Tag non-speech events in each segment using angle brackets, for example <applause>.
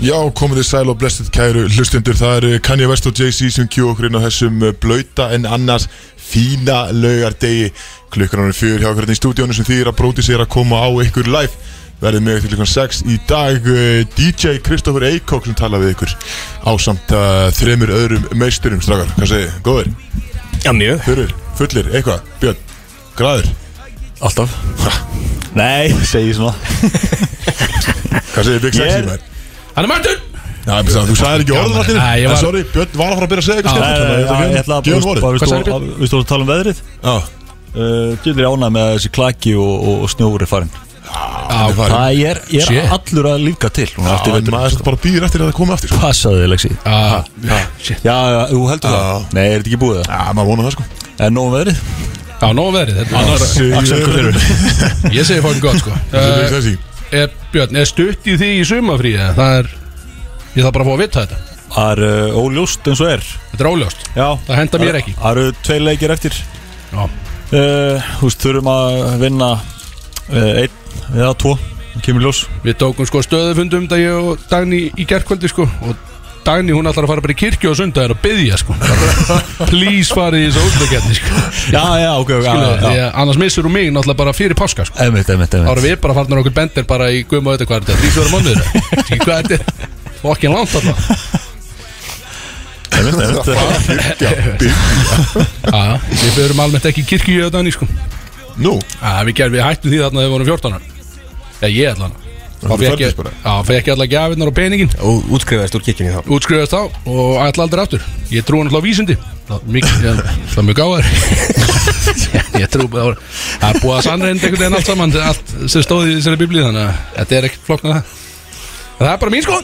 Já, komið þið sæl og blessið kæru hlustundur Það eru Kanye West og Jay-Z sem kjú okkur inn á þessum eh, blauta en annars fína laugardegi klukkan ánum fjör hjá okkur hérna í stúdíónu sem þýðir að bróti sér að koma á ykkur live verðið með ykkur klukkan 6 í dag eh, DJ Kristoffer Eikók sem tala við ykkur ásamt uh, þremur öðrum meisturum strákar, hvað segir, þið? góður, Já, mjög þurrir, fullir, eitthvað, björn, græður Alltaf Nei, segi svona hvað segir Big Sexy Ég er- maður? Hann er mættur Já, ég þú sagðir ekki orðin allir Nei, ég En var- sorry, Björn var að fara að byrja að segja eitthvað skemmt Ég ætla að Gjöðum orðið bara Hvað sagði Við stóðum að tala um veðrið Uh, Já, Gjöður ég ánað með að þessi klaki og, og, og snjóur er farin hann er farin Það er, ég Shit. er allur að lífga til núna Já, eftir en vetur. maður bara býðir eftir að það komi aftur sko. Passaðu þig, Lexi Já, ah, já, þú Já. heldur það Nei, er þetta ekki búið það? Já, maður vonar það sko En nóg um veðrið Já, nóg um veðrið þetta er bara- Axel, hvað segirðu? Ég segi fólk gott sko Þessi Big Eh, Sexy. er, Björn, er stutt í því í sumafríði Það er Ég þarf bara að fá að vita þetta Það er uh, óljóst eins og er Þetta er óljóst Já Það henda mér ekki Það eru tvei leikir eftir Já, uh, Þú veist, þurfum að vinna uh, Einn eða tvo Kemur í ljós Við tókum sko stöðufundum dag ég og Dagný í gerkvöldi sko og Dagný hún ætlar að fara bara í kirkju og sundar og byggja sko Please farið í þessu útlækjarni sko Já, já, ok, ok Skilu, já, já. ég, Annars missur hún mig náttúrulega bara fyrir páska sko Einmitt, einmitt, Þá einmitt erum við bara farnar okkur bendir bara í guðum og þetta hvað er þetta Þrísvöru mánuður Ekki hvað þetta er Fokkin langt alltaf Einmitt, <laughs> einmitt Já, býð Já, Við förum almennt ekki í kirkju í Dagný sko Nú, Já, við, gerðum, við hættum því þarna þegar við vorum 14 ára. Já, ég allan Þá þú fekk fæddist ég, bara? já, fekk ég allar gafirnar og peningin Og útskrifaðist úr kirkjunni þá Útskrifast þá og ætla aldrei aftur Ég trúi náttúrulega á vísindi Það er mik- ég- það er mjög gáðar <laughs> Ég trú bara Það er búið að sannreind einhvern veginn allt saman Allt sem stóði í þessari biblíu Þannig að þetta er ekkert flokknað það En Það er bara mín sko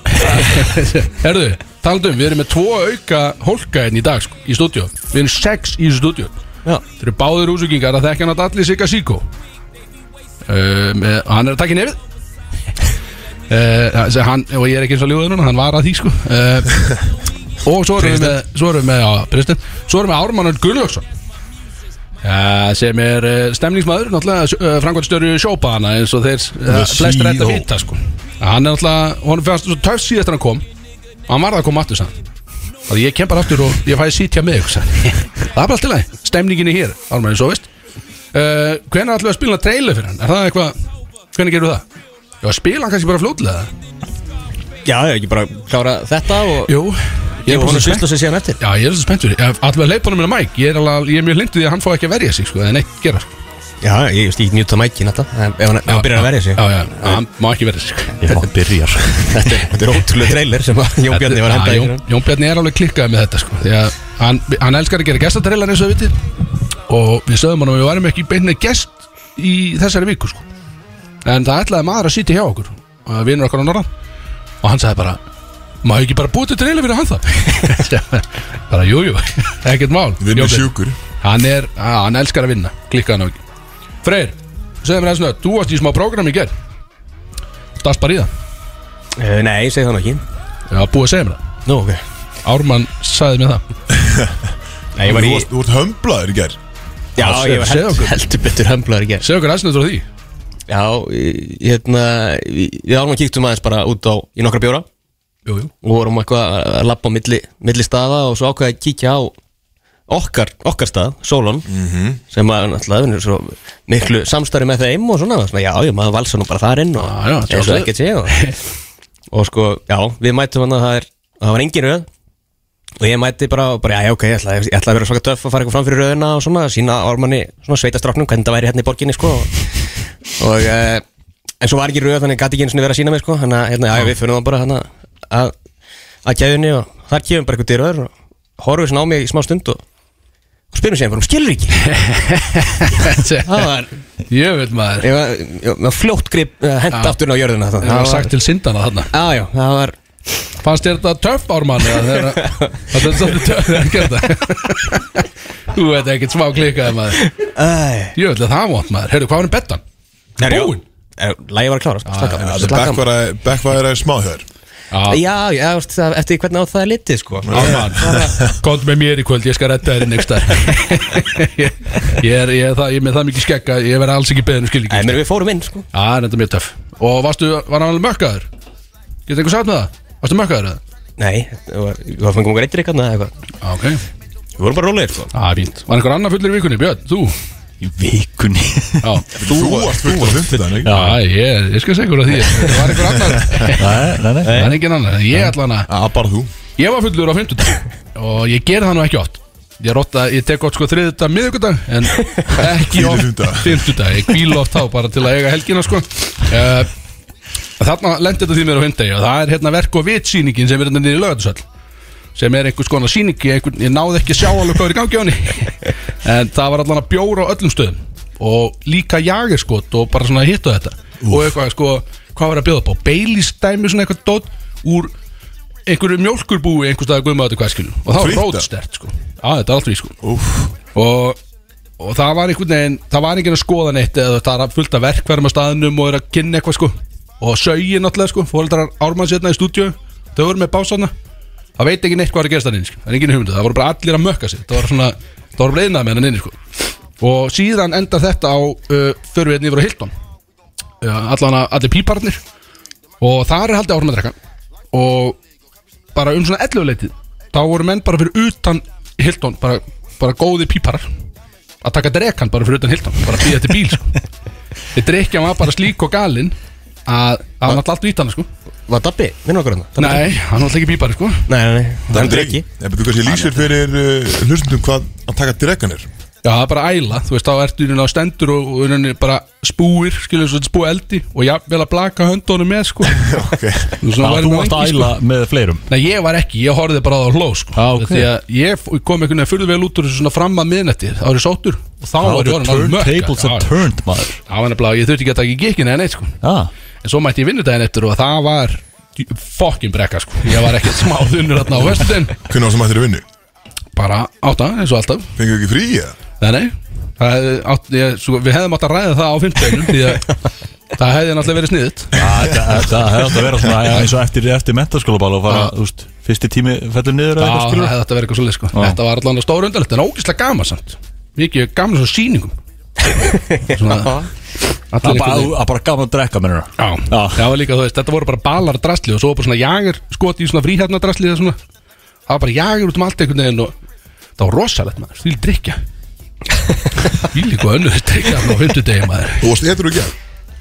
<laughs> Herðu, talandum, við erum með tvo auka hólkaðin í dag sko, í stúdíu Við erum sex í stúdíu Já. Þeir eru báðir úsugingar að þekkja nátt allir Sigga Siko um, eh, Hann er að taka í nefið uh, hann, Og ég er ekki eins og ljúður núna, hann var að því sko uh, Og svo erum við með, svo erum við með, já, Pristin Svo erum við Ármann Örn Gunnlaugsson Uh, sem er uh, stemningsmaður náttúrulega uh, framkvæmstjóri sjópaðana eins og þeir uh, flestir þetta CEO. vita sko. hann er náttúrulega, honum fannst svo töff síðast þegar hann kom og hann varði að koma aftur sann að ég kem bara aftur og ég fæði sitja með ykkur sann <laughs> það er bara allt í lagi, stemninginni hér Ármann, svo veist uh, hvernig ætlum við að spila trailer fyrir hann, er það eitthvað hvernig gerum við það? Já, spila hann kannski bara fljótlega Já, já, ekki bara klára þetta og Jú, ég er Og bara svo svo spennt sýsla sem síðan eftir Já, ég er svo spennt fyrir, allavega leip honum minna mæk ég er, alveg, ég er mjög hlindu því að hann fá ekki að verja sig sko, eða neitt gera sko. Já, ég veist, ég nýta mækin þetta En ef hann, ef hann byrjar að verja sig Já, já, já, hann má ekki verja sig sko. Já, byrjar <laughs> Þetta er- þetta er ótrúlega trailer sem að Jón Bjarni var að Já, henda Jón, ykkur Jón Bjarni er alveg klikkaði með þetta sko, því að hann, hann elskar að gera gestatrellan eins og við vitið og við sögum hann að við varum ekki beinni gest í þessari viku sko. en það ætlaði maður að sitja hjá okkur og vinur okkar á norðan og hann sagði bara maður ekki bara búið til treyla fyrir hann það <laughs> bara jújú, jú, ekkert mál við Jón erum Bjarni. sjúkur hann, er, að, hann elskar að vinna, klikkaði hann á ekki Freyr, segðu mér aðeins nöð þú varst í smá prógram í gerð dast bara í það, Eh, Nei, ég segi það nú ekki ég var búið að segja mér það Nú, ok Ármann sagði mér það Nei, ég Þú var í varst- þú vart hömblaður í ger Já, segðu- ég var segðu okkur. held- heldur betur hömblaður í gerð Segðu okkur aðsnöður á því Já, ég- hérna Við við árum að kíktum aðeins bara út á Í nokkra bjóra Jú, jú og vorum eitthvað að lappa á milli, milli staða og svo ákveði að kíkja á okkar, okkar stað, Solon Mhm. sem að náttúrulega við erum svo miklu samstarfi með þeim og svona, svona já, ég maður valsa nú bara þar inn og Já, já, eins og sjálfsögðu. ekkert sé og, <laughs> og sko, já, við mætum hann að það er það var engin röð og ég mæti bara, bara já, já, ok, ég ætla, ég ætla að vera svaka töff að fara eitthvað fram fyrir röðina og svona, sína ormanni svona sveitastráknum, hvernig það væri hérna í borginni sko og, og eh, en svo var ekki röð, þannig gæti ekki einu sinni verið að sína mig sko, þannig að hérna, já, já, við finnum það bara hérna að, að gæðunni og þar kemur bara eitthvað dyröður og horfum svona á mig í smá stund og, og spyrum sér, um skilur ekki <laughs> <laughs> það var, Ég veit maður ég var, ég var fljótt grip uh, hent Já. aftur inn á jörðina það, Það var sagt til syndana þarna já, já, það var Fannst þér þetta töff ármann eða <laughs> þegar- Það er svolítið töff þegar hann gerði það <laughs> Þú veit ekkert smá klikaði maður Æ, Ég veit að það vant maður Heyrðu, hvað var um bettan? Búinn? Lægi var að klára, sko, slaka á. Það er Slaka á. backværa- backværa smáhjör Já, Já, já, þú veist, það- eftir því hvernig á það er litið sko ármann Komt með mér í kvöld, ég skal redda þér inn ekstar <laughs> Ég ég er, ég er það, ég er með það mikið skegg að Ég verði alls ekki beðin um Æ, skilíki mér við fórum inn sko Já, þetta er mjög töff Og varstu, var hann alveg mökkaður? Getur einhver sagt með það? Varstu mökkaður eða? Nei, þetta var- við varum fengið okkur eittir eitthvað eða eitthvað Já, ok Við vorum bara rólegir sko Það er fínt Var einhver annar fullur í vikunni, Björn? Þú? Í vikunni Já Þú varst fullt á fymtudan, ekki? Já. Já, ég, ég skal segja ykkur að því Var Nei, nei, nei einhver annar? Það er engin annar Ég allan að Já, bara þú Ég var fullur á 50 og ég ger það nú ekki oft Ég rotta, ég tek oft sko þriðudag, miðugudag en ekki oft Fimmtudag. fymtudag, ég kvíla oft þá bara til að eiga helgina sko uh, Þarna lendi þetta því mér á hundegi og það er hérna verk og vitsýningin sem er hérna niður í lögatursall sem er einhvers konar sýning ég, einhver, ég náði ekki að sjá alveg hvað er í gangi á henni en það var allan að bjóra á öllum stöðum og líka jagerskot og bara svona hittu þetta og eitthvað sko, hvað var að bjóða upp á Baileys dæmi svona eitthvað dót úr einhverju mjólkurbúi einhvers staðar guðmaður hvað skilur og það var Frítt, rótstert sko Já, þetta er allt frí sko Úf, og, og það var einhvern veginn það var einhvern að skoða neitt eða það var fullt af verkverðum á staðnum og er að kynna eitthvað sko og sögi náttúrulega sko fóreldrar Ármann sérna í stúdíu þau voru með básana það veit ekki neitt hvað er að gerast hann inn sko. það er engin hugmyndu það voru bara allir að mökka sig það var svona það voru bara einað með hann inn sko og síðan endar þetta á uh, förum við hérna yfir á Hilton uh, allan að allir píparnir og þar er haldið árum að drekka og bara um svona 11 leitið þá voru menn bara fyrir utan Hilton bara, bara góði píparar að taka drekan bara fyrir utan Hilton bara býða til bíl sko. þeir drekja var bara slík og galinn að að hann alltaf allt vítan sko. Var Dabbi, minn okkur hann Nei, nei, hann alltaf ekki pípari sko. nei, nei, það er ekki Nei, betur kannski lýsir fyrir uh, hlustundum hvað að taka dregan er já, það er bara æla, þú veist, þá ertu í rauninni á stendur og, og í rauninni bara spúir skilur svo spú eldi og já, vel að blaka höndunum með <laughs> sko. Ok Þú Já, væri þú nú varst engi, að sko. æla með fleirum Nei, ég var ekki, ég horfði bara á það og hló sko. Já, ok. Því að ég f- kom einhvern veginn fyrir vel út úr þessu svona fram að miðnætti Það var ég sóttur og þá var ég orðin alveg mökka Turntables Já, are turned, maður Já, en nefnilega, ég þurfti ekki að taka í gikkinu en eitt sko Já, En svo mætti ég vinnudaginn eftir og það var djú- Fucking brekka sko Ég var ekkert smá þunnur þarna á vestudinn Hvernig var sem ættir að vinnu? Bara átta, eins og alltaf Fengið ekki frí eða? Nei, nei það, hefði átt, ég, svo, Við hefðum átt að ræða það á fimmtudeginum Því að það hefði náttúrulega verið sniðut Ah, þetta þetta hefði átt að vera svona ja, eins og eftir, eftir mentaskólabal og fara, Já. þú veist, fyrsti tími fellur niður eða Já, eitthvað það skilur hefði þetta verið eitthvað svolítið sko Já. Þetta var allan stóra undarlegt en ógislega gaman samt Mikið gaman svo sýningum Svona Það Allir er bara, einhvern veginn- að bara gaman að drekka, mennur Já, Já. það var líka þú veist Þetta voru bara balar af drasli og svo var bara svona jager skoti í svona fríhætna drasli eða svona Það var bara jager út um allt einhvern veginn og það var rosalegt maður, því drikja Því líka önnur drikja á 50 degi maður Þú varst eitthvað ekki að?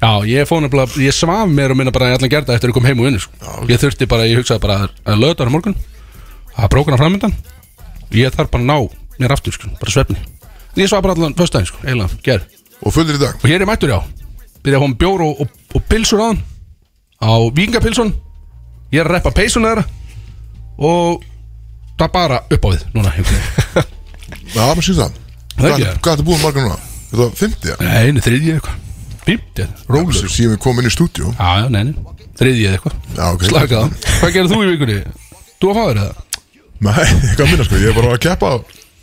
Já, ég fór nefnilega, ég svaf mér og minna bara í allan gerða eftir að ég kom heim og unni sko. Ég þurfti bara, ég hugsaði bara að- að löða þar morgun að brókana framöndan ég þarf bara að ná mér aftur sko, bara svefni Ég svaf bara allan föstudaginn, sko, eiginlega, gerð Og fullur í dag? Og hér er ég mættur já, byrja að fá mér bjór og, og, og pilsur á hann á vikingapilsun Ég er að reppa peysun þeirra og það bara upp á við núna einhvern veginn. Já, maður syns það Það er ekki Hvað- það. Hvað ertu búin margar núna? Þetta var 50 eða? Nei, einu þriðji eitthvað, fímt Rólegur Síðan við komum inn í stúdíu Já, já, neini, þriðji eða eitthvað Já, ok Slakað á Hvað gerir þú í vikunni? Þú að fá þér það? Nei, <laughs> ekki að minna sko Ég er bara að keppa Já,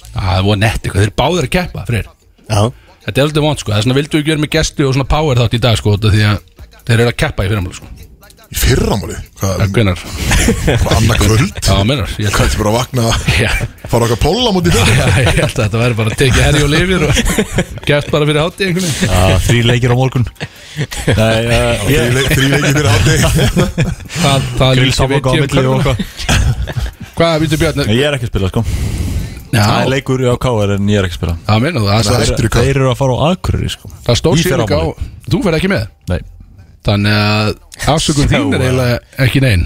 það voru nett eitthvað, þeir eru báðir að keppa fyrir Já, Þetta er alltaf vant sko, það er svona vildu ekki vera með gesti og svona power þátt í dag sko út af Því að þeir eru að keppa í fyrirmáli sko Í fyrramáli Hvað, Hvenar? bara annað kvöld Já, menar, ég Hvað held að ertu bara að vakna <laughs> Já, Fara okkar pólla múti fyrir já, ég held að þetta væri bara að tekið herri og lifir og gert bara fyrir hátti einhvern veginn Já, þrý leikir á morgun Nei, uh, ég Þrý leikir fyrir hátegi Það, það Grill lýsir samloka á viti um milli og körfuna. eitthvað Hvað, Vítur Björn? Nei, Ég er ekki að spila, sko Það er Já, leikur á KR en ég er ekki að spila það meina þú, það Nei. er- eftir í Þeir, hvað? þeir eru að fara á Akureyri, sko það er stór Í sýning á fyrramálið. Þú fer ekki með Nei, Þannig að afsökun þín er eiginlega ekki neinn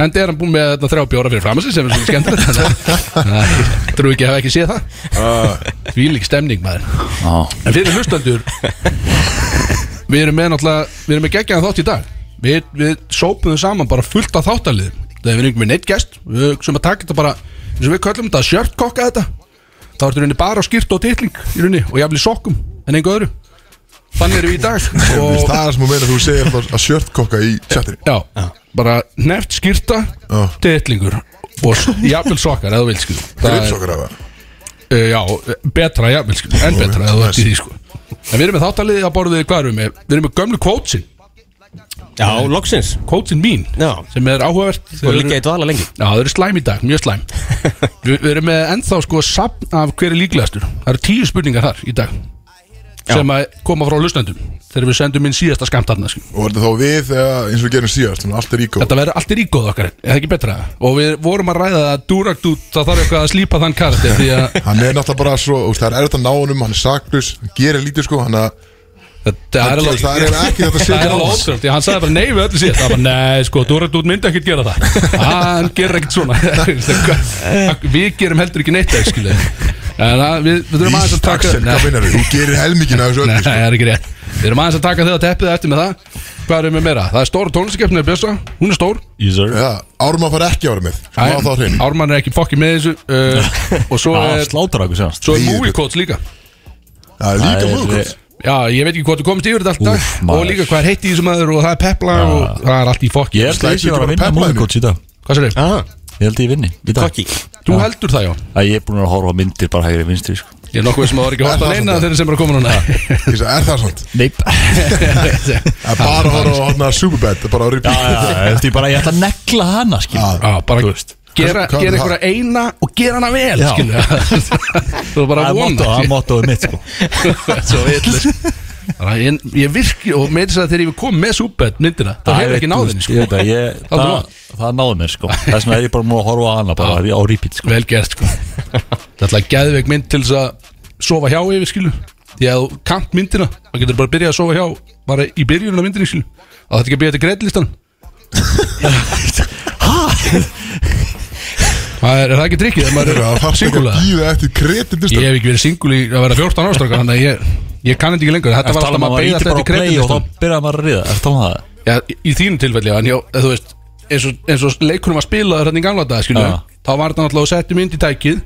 En er hann búinn með þarna þrjá bjóra fyrir framansi sem er svona skemmtilegt Þannig að ég trú ekki að hafa ekki séð það Þvílík stemning maður á, En fyrir hlustandur Við erum með náttúrulega Við erum með geggjaðan þátt í dag Við, við sópuðum saman bara fullt af þáttalið Það er við erum með neitt gest Við sem að taka þetta bara eins og við köllum þetta shirtkokka þetta Það ertu í rauninni bara á skýrt og titling í rauninni og jafnvel í sokkum en engu öðru Þannig erum við í dag og Það er sem að meina að þú segir alltaf að sjörtkokka í chattinni Já, bara neft skýrta Já. Detlingur Og s- jafnvel sokkar eða þú vilt sko. skil Gripsokkar af það uh, Já, betra jafnvel skil En betra eða þú ert í því sko En við erum með þáttaliði að borðið hvað erum við með Við erum með gömlu kvótsin, já loksins kvótsin mín Já, Sem er áhugavert Þau og eru- líka í dvala lengi Já, þau eru slæm í dag, mjög <laughs> slæm Vi, Við erum með ennþá sko sapn af hver er líklegastur Það eru tíu spurningar þar í dag sem að koma frá hlustendum þegar við sendum inn síðasta sko. skamt þarna skilur. Og verður þá við, eh, eins og við gerum síðast, svona allt er ígó Þetta verður allt er ígóð okkar, er það ekki betra? Og við vorum að ræða að Duragdút, það þarf eitthvað að slípa þann karakter Því að Hann er náttúrulega bara svo, úst, það er erfitt að ná honum, hann er saklaus, hann gerir lítið sko, hann að þetta er alveg það er ekki þetta Það sér er alveg ótrúld, því að hann sagði bara nei við öllu síðan Það var nei, sko, Dóra Dút myndi ekkert gera það Hann gerir ekkert svona <laughs> Við gerum heldur ekki neitt það, skilu En að, við, við þurfum aðeins að taka Axel, hvað Nei, meinar þú? Þú gerir helmingin af þessu nei, öllu sko. það er ekki rétt Við erum aðeins að taka þegar teppið eftir með það Hvað erum við meira? Það er stóra tónlistakefnið Bjössa, hún er stór Ísar Já, Ármann fara ekki ára með, sko, á þá hrein Ármann er ekki fokkin með þessu uh, Og svo Það er, slátur okkur sérst svo er Movie Codes líka Það er líka Það er- múlkvæmt Já, ég veit ekki hvort þú komist yfir þetta allt í dag Úff, Og maður. líka hvað er heitt í þessum aður og það er pepla og það er allt í fokki Ég held að Slætur ég var að bara vinna pepla henni. múlgóts í dag Hvað sér Ég held að ég vinni í dag Kokki Þú heldur það, já að Ég er búin að horfa á myndir bara hægri vinstri sko. Ég er nokkuð sem að það var ekki hótt Er að það neina svona? þeirri sem er að koma <laughs> núna Ég sagði, Er það sant? Neip Það er bara að horfa á hann að Superbad, það er bara að <laughs> Já, ripi já, ég held ég bara Ég ætla að negla hana sko. skil Já, bara veist. gera, Hvað- hvað gera er það? einhverja eina og gera hana vel Já. <laughs> skilur við. Þú er bara Það að er mottó- vona það er mottóið mitt <laughs> sko Svo vitlis Ég, ég virki og með þess að þegar ég kom með súbett myndina þá hefur ekki sko. náðin sko. ég, veit það, <laughs> ég, Það er það, það náði mér sko Þess vegna er ég bara múið að horfa á hana bara á repeat sko Vel <laughs> gert sko Það er alltaf geðveik mynd til þess að sofa hjá yfir skilu Því að þú kant myndina maður getur bara að byrja að sofa hjá bara í byrjunum af myndinni skilu og þetta ekki að byrja til <laughs> greitlistan Það er, er það ekki trikkið Það er að fara ekki að Singulaða býða eftir Ég kreditlistan hef ekki verið singul í að vera 14 ástráka Þannig að ég, ég kann þetta ekki lengur Þetta Ertu að var tala alltaf um að maður maður beigja ítir bara þetta sko. til á play og kreditlista þá byrjaði maður að ríða Ertu að það? Já, í- Í þínum tilfelli En já, eða þú veist eins og, eins og leikunum var spilaður hérna í gamla dag skilju Já. Þá var þetta náttúrulega að setja mynd í tækið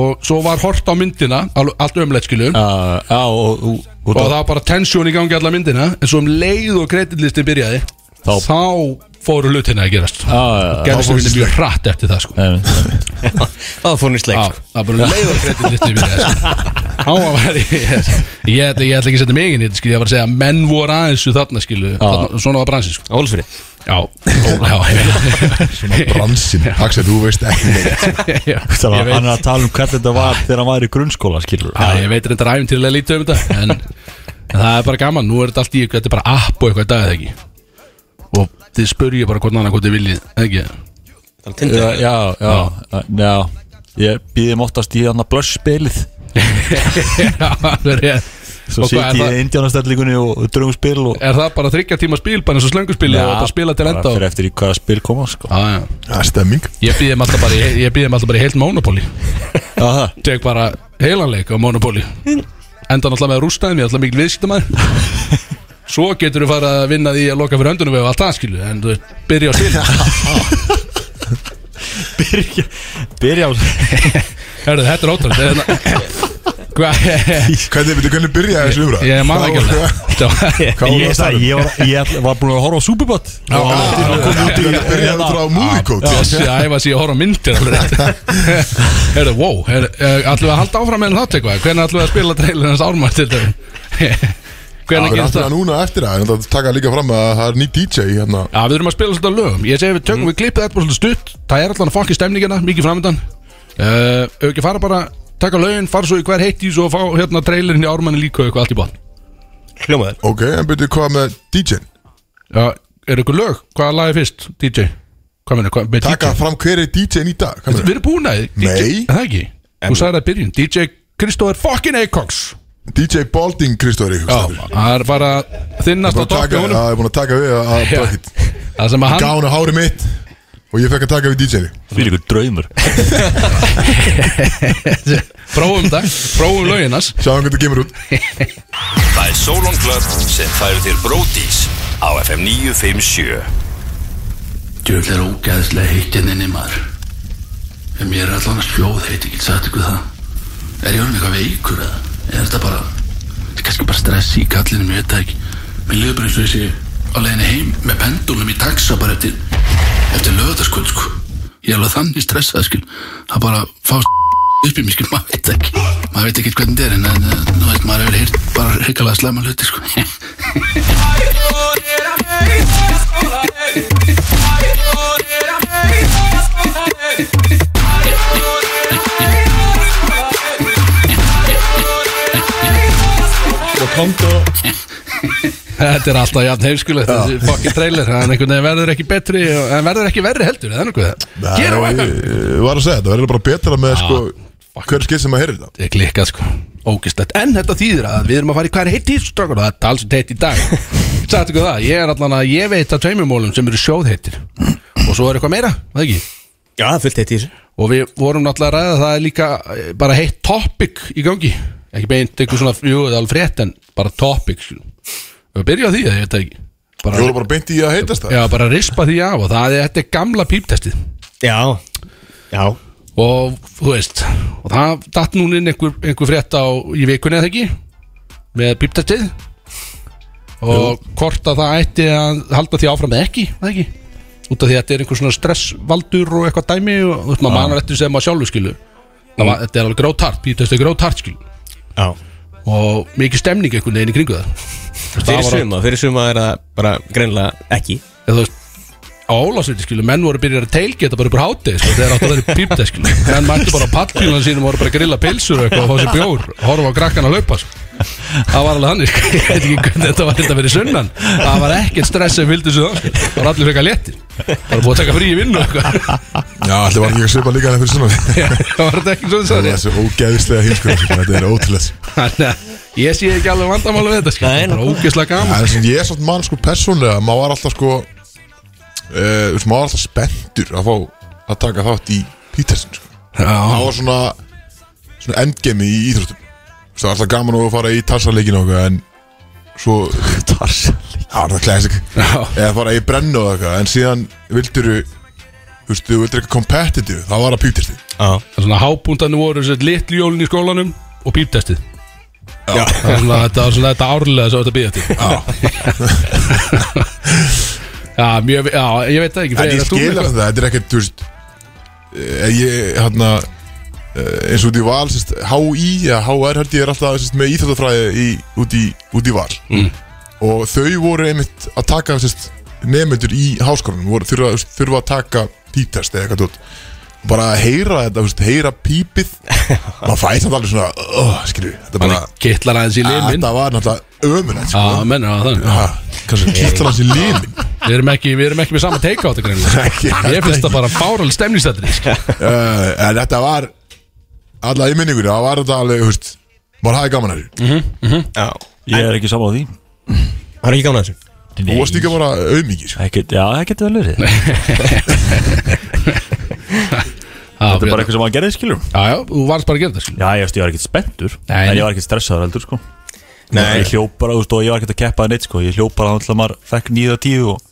Og svo var hort á myndina alveg- Allt ömlegt skilju Já, já, og þú Og það var bara tensjón í gangi alla myndina En svo um leið og kreditlisti byrjaði Þá, Þá- fóru hlutina að gerast Já, já, já. Gerðist Þá fór hlutina í mjög hratt eftir það sko Nei, nei. Það fór hún í sleik Já, sko. það er bara um leiður kreditlisti við það sko. <laughs> Á að vera í Ég ætla ég ætla ekki að setja mig inn í þetta skil Ég var að segja að menn voru aðeins við þarna skil þarna, Svona var bransin sko Á Ólfsfirði Já, ó, <laughs> já <laughs> Bransin, Axel, þú veist ekki neitt Já, Það var ég veit hann er að tala um hvernig þetta var þegar hann var í grunnskóla skilur Já, ég veit reyndar æfum til að lítið um þetta en, en það er bara gaman, nú er þetta allt í þetta er bara app og eitthvað í dag eða ekki og þið spurðu ég bara hvernig annað hvort þið viljið eða <laughs> ekki, Það er tindur Já, já, já, já Ég býðum oftast í hann að blöss spilið já, alveg rétt Svo Og sit hvað, er, ég í það, indjánastellingunni og og drögum spil og er það bara þryggja tíma spil bara eins og slönguspil og bara spila til enda bara og, Fyrir eftir í hvaða spil koma sko já, já. Það er stemming ég býðum alltaf bara í- ég býðum alltaf bara í heilt Monopoly Já, það tek bara heilanleik á Monopoly enda náttúrulega með rústaðum, ég er alltaf <laughs> mikil viðskiptamæður svo getur þú fara að vinna því að loka fyrir öndunum og allt það skilu en þú veist, byrja að spila <laughs> Byrja, byrja á <laughs> Hörru, þetta er ótrúlega Hvað? Hvernig, veitu, hvernig byrjaði þessu umræð? <laughs> Ég man ekki <laughs> alveg Þetta var- Hvað var það Ég, að tala um? sagði, ég, var, ég var búin að horfa á Superbot Já, Það kom út í hvernig byrjaði að draga múlkót Þessi æfa sig að horfa á myndir alveg rétt Hörru, wow Hörru, uh, ætlum við að halda áfram með þátt eitthvað Hvernig ætlum við að spila trailer hans ármar til þau Hvernig Það er gerist alltaf það? núna eftir það, en það taka líka fram að það er ný DJ hérna Já, við erum að spila svolítið á lögum Ég segi við tökum við klippið þetta bara svolítið stutt Það er allan að fokki stemningina, mikið framöndan uh, Ef ekki fara bara, taka lögin, fara svo í hver heitt í Svo fá hérna trailerin í ármanni líka og eitthvað allt í bán Hljómaður Ok, en byrju, hvað með DJ-n? Já, er ykkur lög? Hvaða lag er fyrst, DJ? Hvað meina, hvað, með Taka DJ? fram hver er DJ-n í dag? hvað Við meinarðu? erum búin að því Nei. DJ, er það ekki? Þú sagði það í byrjun DJ Kristóður fucking Acox DJ Balding, Kristóri Já, það er bara að þinnast á toppi honum Það er búin að taka við að- að Já. bracket Það sem að hann Gána hári mitt Og ég fekk að taka við DJ-ni Fyrir ykkur draumur Prófum það, prófum lögin hans Sjáum hvernig það kemur út Það er Solon Club sem færir þér bródís á FM 957. Djöfull er ógæðslega heitt hérna inni maður En mér er allan að sljóð heit, ég get sagt ykkur það Er ég orðin eitthvað veikur eða? Eða er þetta bara, þetta er kannski bara stress í kallinu, mér veit það ekki Mér liður bara eins og þessi á leiðinni heim með pendulum í taxa bara eftir Eftir lögðarskvöld sko Ég er alveg þannig stressað skil Það bara fást <laughs> upp í mig skil, maður veit það ekki Maður veit ekki hvernig þetta er en, en eh, nú veit maður hefur heyrt bara hrikalega slæma hluti sko <laughs> Hvað komdu Þetta er alltaf jafn heimskulegt Þessi fucking trailer En einhvern veginn verður ekki betri og- En verður ekki verri heldur eða nokkuð það Gera og eitthvað Ég var að segja, þetta verður bara betra með sko Hver skil sem að heyri þetta Ég klikkað sko Ógislegt En þetta þýðir að við erum að fara í hvað er heitt tísustrákur Og þetta er alls heitt í dag Sagt ykkur það Ég er allan að Ég veit að tveimur mólum sem eru sjóðheittir Og svo er eitthvað meira Það ekki Já, það er fullt eitt í þessu Og við vorum náttúrulega að ræða það er líka eh, bara heitt topic í gangi Ekki beint eitthvað svona, jú, það er alveg frétt en bara topic skilur. Við byrjum á því að ég veit það ekki Ég voru bara, bara beint í að heitast það Já, bara rispa því af og það er, þetta er gamla píptestið Já, já Og þú veist, og það datt núna inn einhver, einhver frétt á í vikunni eða ekki Með píptestið Og hvort að það ætti að halda því áfram eða ekki, eða ekki Út af því að þetta er einhver svona stressvaldur og eitthvað dæmi og þú veist, maður manar eftir sem maður sjálfur skilur Það var, þetta er alveg grótart, píptest er grótart skil Já Og mikið stemning einhvern veginn í kringu það Fyrir var- suma, fyrir suma er það bara greinlega ekki Eða þú veist, á Ólásviti skilu, menn voru byrjar að teilgeta bara upp úr hátið sko, þegar áttu að vera í píptest skilu Menn mættu bara á pallbílan sínum og voru bara að grilla pilsur og eitthvað og fá sér bjór og horfa á krakkan að laupa sko. Það var alveg þannig, sko, ég veit ekki hvernig þetta var þetta verið sunnan Það var ekkert stress sem fylgdi svo það, sko. það var allir frekar léttir Bara búið að taka frí í vinnu og eitthvað Já, allir var ekki að svipa líka hann fyrir svona Það var þetta ekki svo Það það er svo ógeðislega hinskur Þetta er ótrúlega Þannig að ég sé ekki alveg vandamála við þetta sko, Nei, það var ógeðslega Já, gaman Það er sem ég er samt mann sko persónlega Má var alltaf sko eh, þú veist, Má var alltaf spenntur að fá að taka þátt í Pítersin sko Já, Það var svona, svona endgemi í íþróttum Þú veist, Það var alltaf gaman að fara í tarsaleikin og eitthvað En svo Tarsaleikin Það var það classic já, Eða fara í brennu og eitthvað En síðan vildur Þú veist, þú vildur eitthvað competitive Það var að pítersin Já, Það er svona hábúntanir voru sér litlu jólin í skólanum og píptestið Já. Það er svona, þetta var svona þetta árlega svo þetta býða til Já <laughs> Já, mjög, já, ég veit það ekki En Freyr, ég ert þú með skil eitthvað? að það, þetta er ekkert, þú veist eh, Ég, hann eins og út í val, sérst, HÍ eða HR held ég er alltaf sérst, með íþjóðafræði í, út, í, út í val mm. og þau voru einmitt að taka sérst, nefnendur í háskólanum voru, þurfa, þú veist, þurfa að taka píptest eða eitthvað tótt bara að heyra þetta, þú veist, heyra pípið <laughs> maður fæði samt alveg svona oh, skilju, þetta bara Þannig kittlar aðeins í limin þetta var náttúrulega ömulegt Já, sko. menn, já, þannig ah. kannski kýttar hans í limin Við erum ekki, við erum ekki með sama teika á þetta greinlega Ekki, Ég finnst það bara sko. fáral stemnistættri uh, En þetta var Alla í minningunni, það var þetta alveg, húst Maður hafði gaman að þessu já Ég er ekki saman á því Það er ekki gaman að þessu Þú varst líka bara auðmikið sko. Ekkert, já, það getur vel verið Þetta er bara Já, eitthvað sem maður gerði, skilur já, þú varst bara að gera þetta sko. skilur. Já, ég veist, ég var ekkert spenntur Nei, En nei. ég var ekkert stressaður heldur, sko Nei. Ég hljóp bara, þú veist, og ég var ekkert að keppa það neitt, sko Ég hljóp bara þá til að maður fekk nýða tíu og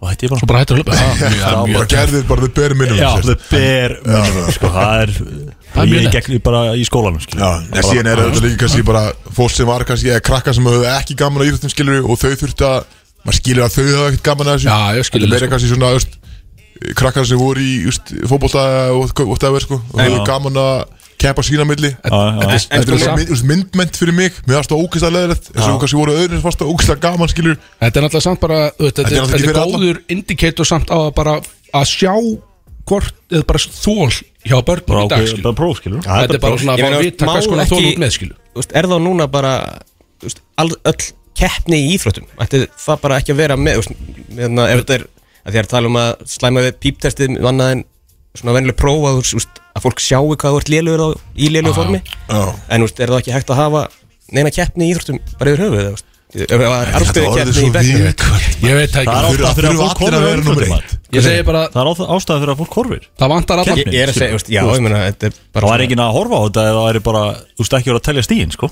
Svo hætti ég bara Svo bara hættur að löpa Já, mjög- Já, Bara mjög- gerðið bara þau beri minnum sko. Já, það ber minimum, sko Það er, Það er mjög ég nett. gegn bara í skólanum, skilur Já, en síðan er þetta líka kannski bara fólk sem var kannski eða krakkar sem höfðu ekki gaman að íþjóttum skilur og þau þurftu að, maður skilur að þau höfðu ekkert gaman að þessu Já, ég Þetta skil það, meira sko. kannski svona, þú veist krakkar sem voru í, þú veist, fótbolta og það verð, sko, og höfðu gaman að keppa sína á milli Já, já, Þetta sko, er samt- mynd- þú veist, myndmynd fyrir mig, mér varst það ógæslega leðilegt eins og kannski voru öðrins fast að ógæslega gaman skilur Þetta er náttúrulega samt bara þú veist, Þetta Þetta, er þetta, náttúrulega þetta ekki er fyrir alla. góður indikator samt á að bara að sjá hvort eða bara þól hjá börnum bara í dag ákveð, skilu. bara próf, skilur Þetta er bara svona að Ég fá meina, að vita má hvers konar þól ekki- út með skilu Þú veist, er þá núna bara þú veist, all, öll keppni í íþróttum ætti það bara ekki að vera með þú veist, meðan að ef þetta er að því að tala um að slæma við píptestið annað en svona venjuleg prófa þú veist, að fólk sjáu hvað þú ert lélugur á, í lélugu Ah. formi Já. en þú veist, er það ekki hægt að hafa neina keppni í íþróttum bara yfir höfuð eða, þú veist, ef það er Þetta arfstöðu orðið keppni svo í bekknum viðkvæmt Ég veit það Það er ekki ástæða fyrir að Þurfa fólk allir að horfir á vera númer eitt. umfjöldum Ég segi bara Það er áþ- ástæða fyrir að fólk horfir það vantar allan Ég ég er að segja, þú veist, já, ég meina þetta er bara Það var svona- enginn að horfa á þetta eða það væri bara, þú veist ekki voru að telja stíðin, sko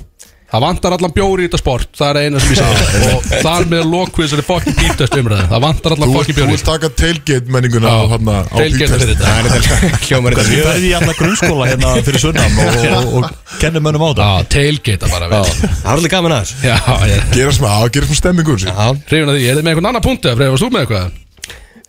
Það vantar allan bjóri í þetta sport Það er eina sem ég segi Og þar með loku þessari fokkin bíptest umræði Það vantar Þú allan vilt- fokkin þú bjóri vilt taka tailgate menninguna á, hann, á Deilgeir Pítersen. fyrir þetta <laughs> hljómar þetta Við ferði í alla grunnskóla hérna fyrir sunnam og, og, og, og kennum mönnum á þetta Já, tailgate bara vel. Það er alveg gaman að þessu Já, ég er Gera smá, á, gera smá stemmingu um sig Já, hrifin að því Er þið með einhvern annan punkt eða Freyr, varst þú með eitthvað?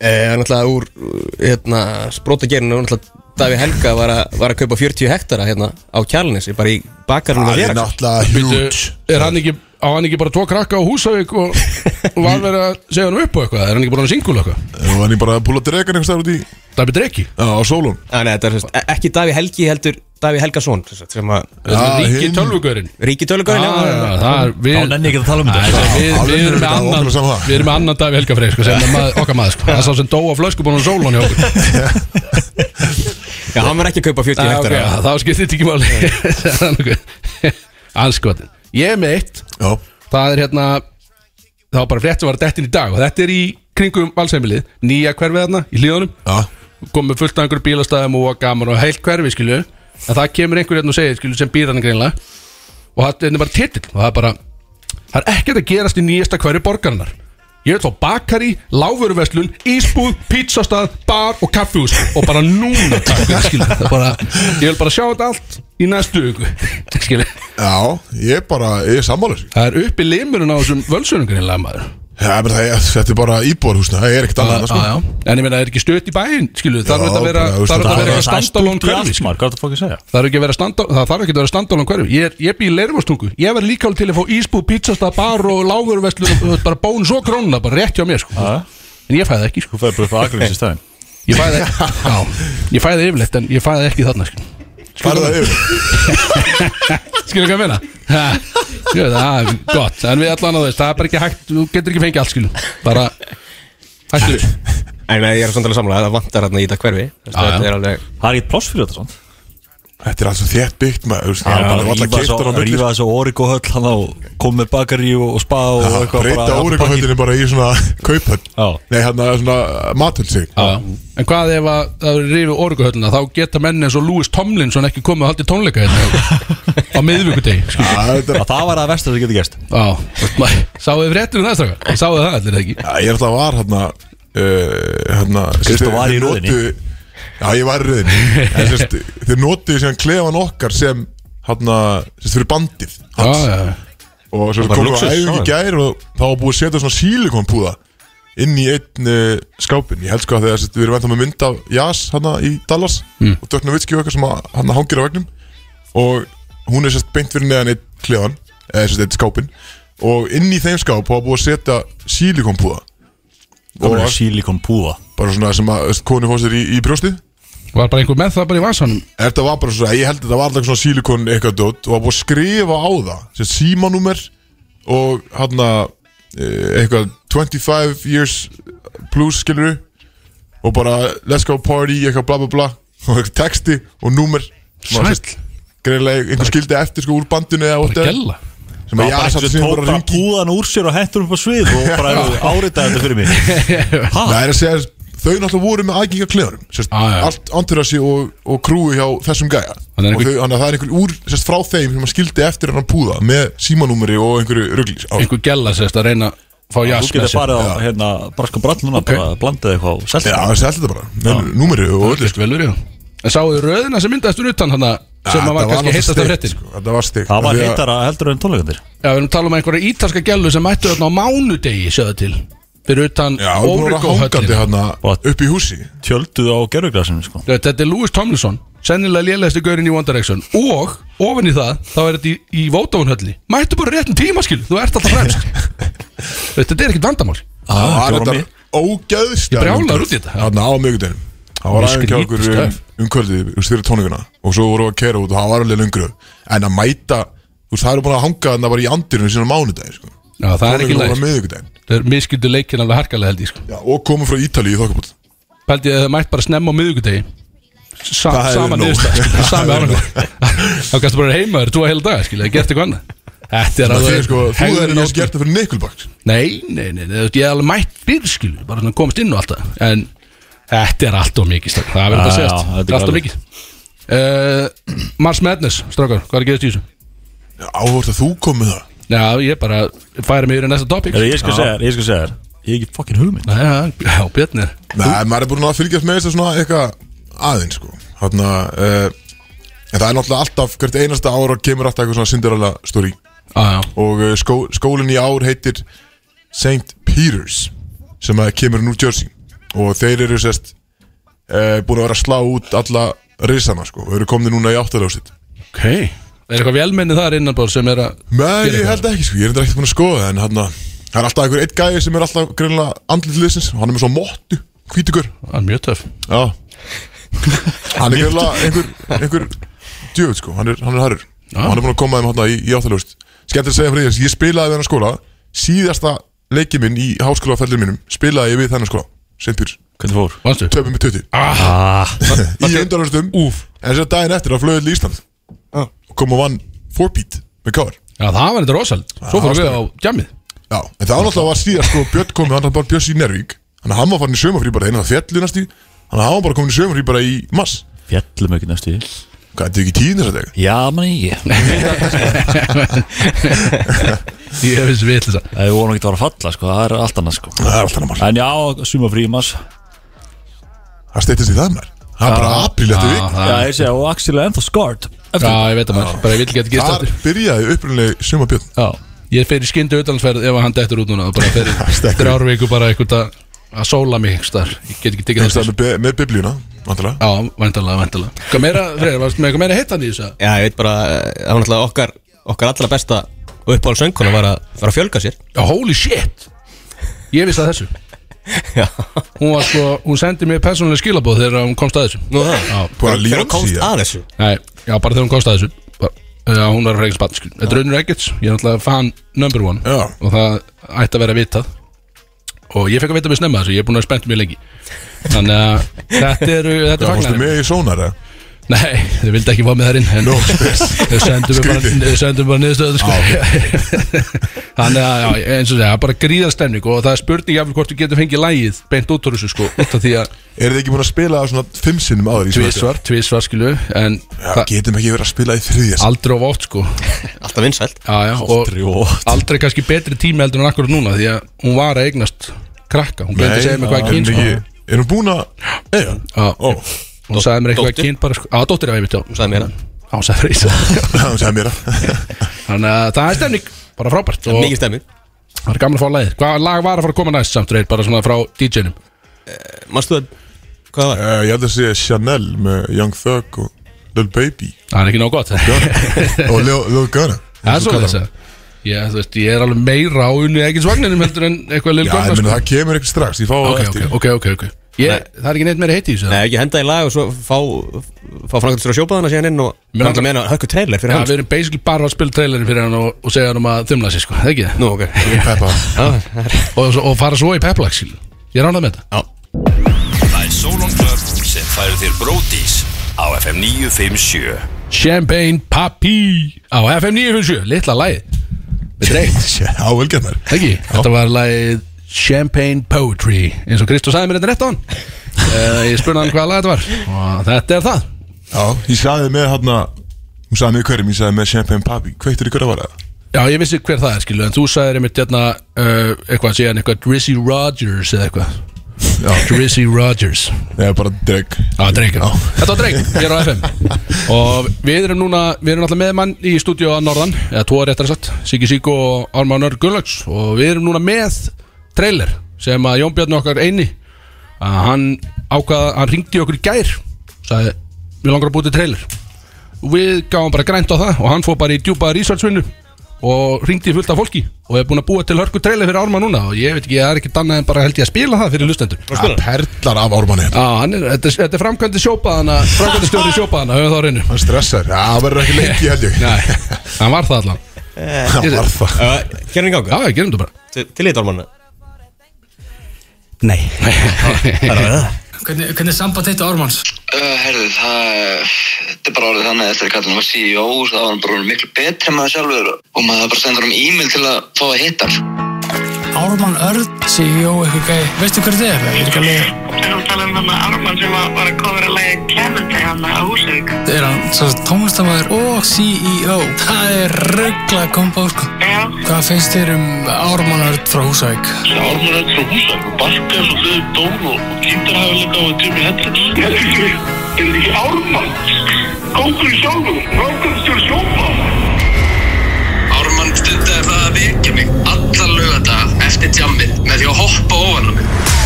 Eh, Það er náttúrulega úr uh, hérna, sprótagerinu og náttúrulega Daví Helga var, a, var að kaupa 40 hektara hérna á Kjálnissi, bara í bakarinn Það við er Vera. náttúrulega huge Bíddu, Er hann ekki Á hann ekki bara tvo krakka á Húsavík og, og var verið að segja hann upp á eitthvað Er hann ekki bara hann singul eitthvað? Þú var hann bara að púla dregan einhvers þar út í Dabbi Dreki Já, á sólun Nei, nei, þetta er sérst, ekki Daví Helgi heldur Daví Helgason sérst, sem að Ríki hinn. tölvugurinn Ríki Tölugaun Það er Þá við nenni ég ekki að tala um Nei, þetta það- við- á Við línunni erum með þetta, annan okkur er sama það. Við erum með annan Davi Helga Freyr sko, sem er maður- okkar maður sko. Það er sá sem dó á flöskubónum sólun hjá okkur Já, hann var ekki að kaupa Já, 40 Ah, ok, hektara já, Þá skiptir þetta ekki máli <laughs> Anskotin Ég er með eitt Já, Það er hérna Það var bara frétt sem var dettin í dag Og þetta er í kringum valsheimilið Nýja hverfið þarna í hlíðunum já, Komum fullt af einhverjum bílastæðum og gaman og heilt hverfi skilju En það kemur einhver hérna og segir skilju sem býr hann greinlega Og það er bara titill Og það er bara Það er ekkert að gerast í nýjasta hverfi borgarinnar Ég vil fá bakari, láfurverslun, ísbúð, pizzastað, bar og kaffihús Og bara núna takk skilju Það er bara, Ég vil bara sjá þetta allt í næstu hugu Skilju já, ég bara, ég er sammálaður Það er uppi limurinn á þessum völsunungrinlega maður Já, menn það er, þetta er bara íbúarhúsna, það er ekkert annað en það, sko. Já, já. En ég meina, það er ekki stöðt í bæinn, skilu Það Já, þarf ekki að vera bara, þú veist, Það þarf það að vera er- eitthvað standalón hverfi skilurðu. Hvað er það fólk að segja? Það þarf ekki að vera standa- það þarf ekki að vera standalón hverfi Ég, er- ég bý í leirvastungu Ég verð líka alveg til að fá ísbúð, pizzasta, bar og lágurveslu Bara bón svo krónuna, bara rétt hjá mér sko. Já. En ég fæði það ekki Þú sko. fæði bara upp á Akranes í staðin Ég fæði það, ég fæði það yfirleitt En ég fæði það ekki þarna sko. farið það yfir Skilu hvað ég meina? Ha, jú, Það er gott, en við allan að veist Það er bara ekki hægt, þú getur ekki fengið allt skilu Bara, hættu þessu. En nei, ég er samtalið samlega, það vantar hérna í þetta hverfi Þú veist, Já, já. Þetta er alveg Það er ekkert pláss fyrir þetta svona Þetta er alls þétt byggt maður, þú veist, það er bara alltaf Rífa keiptan á svo- milli Rífa þessu Origo höll hann á Komið bakari og og spa og Já, eitthvað Breyta óreikahöldinu bara í svona kauphöll Já. Nei, hann er svona mathöldsig Já. En hvað ef að það verður rifið orguhöllina þá geta menn eins og Lewis Tomlinson ekki komið að haldi tónleika hérna á miðvíkudegi skilur. Þetta er Að Það var að versta sem getur gerst Já, veist maður, sáuðu fréttur um það strákar? Sáuðu það allir eða ekki? Já, ég er alltaf var hérna uh, hérna Kristó þeir- var í þeir röðinni. notuðu- Já, ég var í röðinni En sérst, þeir notuðu síðan klefan okkar sem hérna, sérst, fyrir bandið Já, hans. já, Og svo bara komum við lúxus, að æfingi já. gær og þá var búið að setja svona sílikompúða inn í einn uh, skápin Ég held sko að þegar sérst, við erum ennþá með mynd af Jas hérna í Dallas og Dörna Vitski okkar sem að- hann hangir á vegnum og hún er sérst beint fyrir neðan eitt klefan eða sérst eitt skápin og inn í þeim skáp var búið að setja sílikompúða Það var sílikon púða bara svona sem að veist, konu fór sér í, í brjóstið Var bara einhver með það bara í vasanum? Þetta var bara svona, ég held að þetta var alltaf svona sílikon eitthvað dótt og var búið að skrifa á það sem símanúmer og hann eitthvað 25 years plus skilur og bara let's go party eitthvað bla bla bla og eitthvað texti og númer sem var, Sæll. sérst, greinilega einhver skildi eftir sko úr bandinu eða Bara whatever, sem að ég að satt Það var bara <laughs> gælla einhvers sem tók bara bara ringi púðan úr sér og hentur upp á svið og bara áritaði þetta <laughs> fyrir mig Það er að segja þau náttúrulega voru með aðgengi að kleðanum sérst, Ah. Já, já. allt anturassi og, og krúi hjá þessum gæja Þannig og er einhver- þau, þannig að það er einhver úr sérst, frá þeim sem að skildi eftir hennan púða með símanúmeri og einhverju rugglis á Einhver gælla sérst að reyna að fá Þú jas með getur sér farið á hérna Brask og brall núna bara blandið eitthvað og Já, selta það er sælt þetta bara, númeri og Það öllu er vel verið já. En sáuðu röðina sem myndaðist úr utan hana sem Þetta að var kannski náttúrulega heitast af steikt, fréttin? sko, Þetta var steikt Það Af var því að- heitara heldur en tónleikandir Já, við erum að tala um einhverja ítalska gælu sem mættu þarna á mánudegi, sjáðu til Fyrir utan Já, hún var Origo hangandi höllina hérna What? upp í húsi Tjölduð á gerðuglasinu sko Þú veit, Þetta er Lewis Tomlinson Sennilega lélægasti gaurinn í One Direction Og ofin í það Þá er þetta í, í Vodafone hölli Mættu bara réttin tíma skil Þú ert alltaf <laughs> fremst Þú veit, Þetta er ekkert vandamál Það var þetta var þetta ógæðst brjálaður út í þetta. Þarna á miðgudaginn Það var aðeins Mjög hjá skrítið okkur um, stöf. um kvöldið Þú styrir tónleikana Og svo voru við að kera út og það var alveg lengur En að mæta, þú veist, það eru búin að hanga þarna bara í andirinu síðan á mánudaginn sko. Já, það er ekki Tónleikana voru á læg miðvikudaginn. Það er miskyldu leikin alveg harkalega held ég sko Já, og komum frá Ítali í þokkabótt Pældi að það mætt bara snemma á miðvikudegi Sa Það hefði Sama nóg. niðurstað <laughs> sko, Sami árangur <laughs> Þá kannstu bara heima þér Tvo heila daga skil Það gert eitthvað annað Þetta er Það er alveg sko, þú hefur hegðun nátt áskil- gert það fyrir Nickelback Nei, nei, nei, nei, þú veist, ég hef alveg mætt fyrir skilu, bara svona komist inn og alltaf En þetta er allt og mikið, strákar, það verður Já, já, þetta að segjast þetta er Þetta er allt og galið. mikið uh, Mars Madness, strákar, hvað er að gerast í þessu? Áhvort að þú kom með það Já, ég bara færi mig yfir í næsta topic Ég skal segja þér, ég skal segja þér Ég er ekki fokkin hugmynd Já, já, já, Björn er Nei, maður er búin að fylgjast með þessu svona eitthvað aðeins sko Þarna, uh, en það er náttúrulega alltaf, hvert einasta ára kemur alltaf eitthvað svona syndirala stóri Já, Ah, já, og uh, skó, skólinn í ár heitir St. Peter's sem að kemur úr Jersey og þeir eru sérst uh, búin að vera að slá út alla risana sko og eru komni núna í áttaljóðsitt ok Er eitthvað velmenni þar innanbár sem er að Nei, Gera ég eitthvað. held ekki sko, ég er þetta ekkert búin að skoða það, en hann það er alltaf einhver eitt gæði sem er alltaf greinlega andlitliðsins og hann er með svo móttu, hvítugur Það er mjög töf Já, <laughs> Hann er gæla einhver, einhver djöfut sko, hann er, hann er harur og hann er búin að koma þeim hann í, í áttaljóðust Skemmt að segja fyrir því að ég spilaði við hann skóla síðasta leikið minn í háskólaferðlið mínum spilaði ég við þennan skóla St. Pírs, Hvernig fór? Manstu? töpum með 20 ah, <laughs> í undanljóðustum Úf en þess að daginn eftir að flöðu til Ísland og kom og vann 4-beat með káar Já, það var þetta rosald Svo fórum við á jammið Já, en það var náttúrulega var síðast sko Björn komið, hann var bara Björns í Nervík Þannig að hann var farin í sömurfrí bara einu það fjallu næstu Þannig að hann var bara komin í sömurfrí bara í mass Fjallum ekki næstu í. Hvað, þetta er ekki tíðin þess að deg? Já, manni, ég Ég finnst við ætla það Það er vonum ekki að vera að falla, sko, það er allt annað, sko Það er alltaf namar En já, suma frímas Það steytist í það mér Það er bara apríl eftir vik Já, ég sé, og Axel er ennþá skart Já, ég veit að maður Bara ég vil ekki að þetta gerist Þar aftur byrjaði upprunnileg sömur Björn Já Ég fer í skyndu utanlandsferð ef að hann dettur út núna og bara fer í Stekkur. þrjárvíku bara eitthvað að að sóla mig einhvers staðar. Ég get ekki tekið Einhvers það staðar með, með biblíuna, vantilega Já, væntalega, væntalega Hvað meira, Freyr, varstu með eitthvað meira hittan í þessu? eða? Já, ég veit bara, eh, það var náttúrulega okkar, okkar allra besta uppáhald sönguna var að, var að fjölga sér Já, holy shit Ég vissi að þessu Já, Hún var sko, hún sendi mér persónuleg skilabóð þegar hún komst að þessu nú það Já, Búin að Þegar lífa hún komst síðan að þessu nei, já bara þegar hún komst að þessu Bara, Já, hún var frekar spatt Þetta er Raunir Eggerts, ég er náttúrulega fan number one Já. Og það ætti að vera vitað Og ég fekk að vita mér snemma þessu, ég er búin að spennt mér lengi Þannig að þetta eru, Það þetta er fórstu fagnar með í sónar, eða? Nei, þau vildi ekki fá mig þar inn en Nó, spes. Þau sendum mér bara, Skrítið. þau sendu mér bara niðurstöðu sko. <laughs> Þannig að, já, eins og segja, bara gríðar stemning og það er spurning jafnvel hvort þú getur fengið lægið beint út úr þessu sko, út af því að Eru þið ekki búin að spila það svona fimm sinnum áður í sömur? tvísvar, tvísvar skilu en Já, það, getum ekki verið að spila í þriðja sinn. aldrei of oft sko já, Alltaf vinsælt já, og aldrei kannski betri tími heldur en akkur núna því að hún var að eignast krakka, hún glemdi að segja mér Nei, hvað erum er kyn við sko. ekki- Erum við búin að... Eða? Já, Ó, hún sagði mér eitthvað Dóttir? kyn bara sko, á dóttir af einmitt, já, hún Sagði mér það. Já, hún sagði freysa það segja mér að <laughs> þannig að það er stemning, bara frábært og- Mikið stemming Það er gaman að fá lagið Hvað lag var að fara að koma næst samt reyð Bara svona frá DJ-num Manstu það, hvað það var? Eh, Ég held að segja Chanel með Young Thug og Lil Baby Það er ekki nóg gott <laughs> Það og Lil, Lil Gunna er svona þess að ég, þú veist, ég er alveg meira á unni ekkert svagninum heldur en eitthvað lil Já, gott ég meina það kemur eitthvað strax, ég fá það Ok, ok, eftir ok, ok, okay. Ég, Það er ekki neitt meira heiti í þessu Nei, það? ekki henda í lag og svo fá, fá frangastur að sjópa hana síðan inn og Mér Mér hann meina hökku trailer fyrir Já, hans við erum basically bara að spila trailerin fyrir hann og, og segja hann um að þumla sér sko, það ekki Nú, ok Peppa Já, og, og fara svo í peplag, skil Ég ránað með þetta Það er Solon Club sem færir þér Bródís á FM 957 Champagne Papi á FM 957, litla lagið Við dreig Já, velgæð mér Ekki, þetta var lagið Champagne Poetry eins og Kristóf sagði mér þetta rétt á hann uh, Ég spurði hann hvaða lag þetta var og þetta er það Já, ég sagði með hann hún sagði með hverjum, ég sagði með Champagne Papi Kveittur í hverja var það? Já, ég vissi hver það er skilu en þú sagðir einmitt hérna uh, eitthvað síðan eitthvað Drizzy Rogers eða eitthvað Já, Drizzy Rogers ég er bara dreg Já, Drake já. Þetta var Drake, hér á FM og við erum núna við erum alltaf með mann í stúdíu að norðan eða tvo réttar satt, Siggi Siggo og Ármann Örn Gullags og við erum núna með trailer sem að Jón Björn okkar eini að hann ákvaða, hann ringdi okkur í gær sagði, við langar að búið til trailer við gáum bara grænt á það og hann fór bara í djúpa researchvinnu og ringdi fullt af fólki og er búin að búa til hörku trailer fyrir Ármann núna og ég veit ekki, það er ekki annað en bara held ég að spila það fyrir lustendur Það perlar af ármanni hérna Já, hann er, þetta, er- þetta er framkvæmdi sjópaðana Framkvæmdi stjóri sjópaðana, höfum það á reynu Hann stressar, já, það verður ekki lengi held ég Nei, hann var það allan Það var það Hérna í Já, ganga ég gerum þetta bara Til til í dálmanna Nei Hvernig, hvernig er samband þetta Ármanns? Uh, herðu, það, þetta er bara orðið þannig að eftir að kallin var CEO, þá var hann bara orðinn miklu betri en maður sjálfur og maður bara sendur um e-mail til að fá að hitta hann. Ármann Örn, CEO, eitthvað gæði. Veistu hver þetta er? Ég er ekki alveg... Við erum að tala um hann að Ármann sem var var að kofra að leiða Clemente hann á Húsavík. Það er hann, svo tónlistamæður og CEO. Það er ruggla kombo, sko. Já. Hvað finnst þér um Ármann Örn frá Húsavík? Ármann er frá Húsavík og barkað svo þau dón og kýndar hafa leika á Jimmy Hendrix. Er þetta ekki Ármann? Kókur sjálfur, frákvæmstjór sjópa. Ármann stundaði það að vekja mig alla lögadaga eftir tjammið með því að hoppa ofan á mig.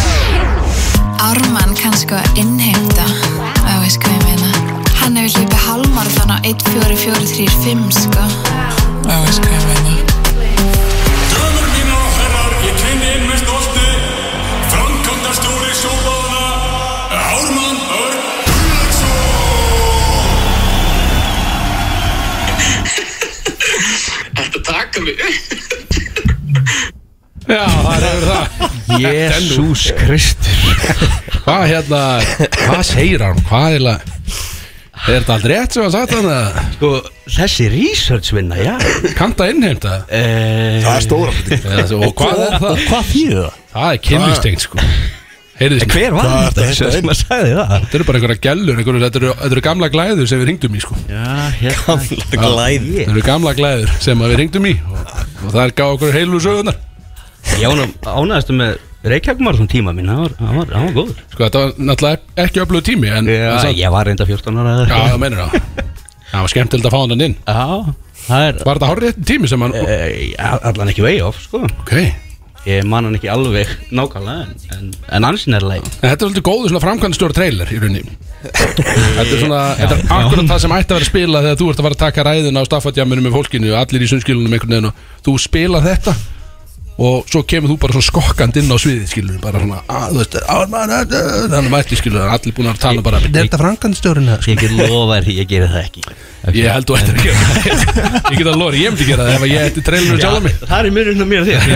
Ármann kann sko innheimta Það veist hvað ég meina Hann hefur hlipið halvmarathon á 14435 sko Já, veist hvað ég meina. Dömur mín og herrar, ég kynni inn með stolti. Framkvæmdastjóri sjópaðana, Ármann Örn fyrir það Jesús Kristur Hvað hérna, hvað segir hann? Hvað er það? Er þetta aldrei rétt sem hann sagt hann að Sko, þessi research vinna, já Kanta innheimta Það er stóra Og hvað er það? Hvað þýðir það? Það er kynlýfstengt sko Heyrðu, Hver var Hvað þetta? ertu að Sem að sagði það Þetta eru bara einhverja gælur, einhverju, þetta, eru, þetta eru gamla glæður sem við ringdum í sko Já, hérna glæður Þetta eru gamla glæður sem að við ringdum í og, og það er gáð okkur heilu sögunar Ég ánum- ánægðist með Reykjavíkmarathon tíma mín, það var, það var, það var góður Sko þetta var náttúrulega ekki öflöð tími en, Já, en samt- ég var reynda 14 ára eða Já, eitthvað. það meinar <laughs> það Það var skemmtilegt að fá hann inn Já, það er Var þetta hárið tími sem hann e, Allan ekki way off, sko Ok Ég man hann ekki alveg nákvæmlega En, en, en ansin er leið En þetta er svolítið góðu svona framkvæmstjóra trailer í rauninni Þetta er svona, þetta er akkurat það sem ætti að vera að spila þegar þú ert að fara að taka ræðina á staffatjamunum með fólkinu og allir í sundskilunum einhvern veginn og þú spila þetta og svo kemur þú bara svona skokkand inn á sviðið skilur bara svona, að þú veist, ármann ah, þannig mætti skilur, allir búin að tala bara "Er þetta framkvæmstjórina Ég get lofa þér, ég geri það ekki Ég held þú ættir að gera það <laughs> Ég get að lóri, ég myndi gera það ef að ég ætti trailinu sjálf mig Það er mjög mér og þér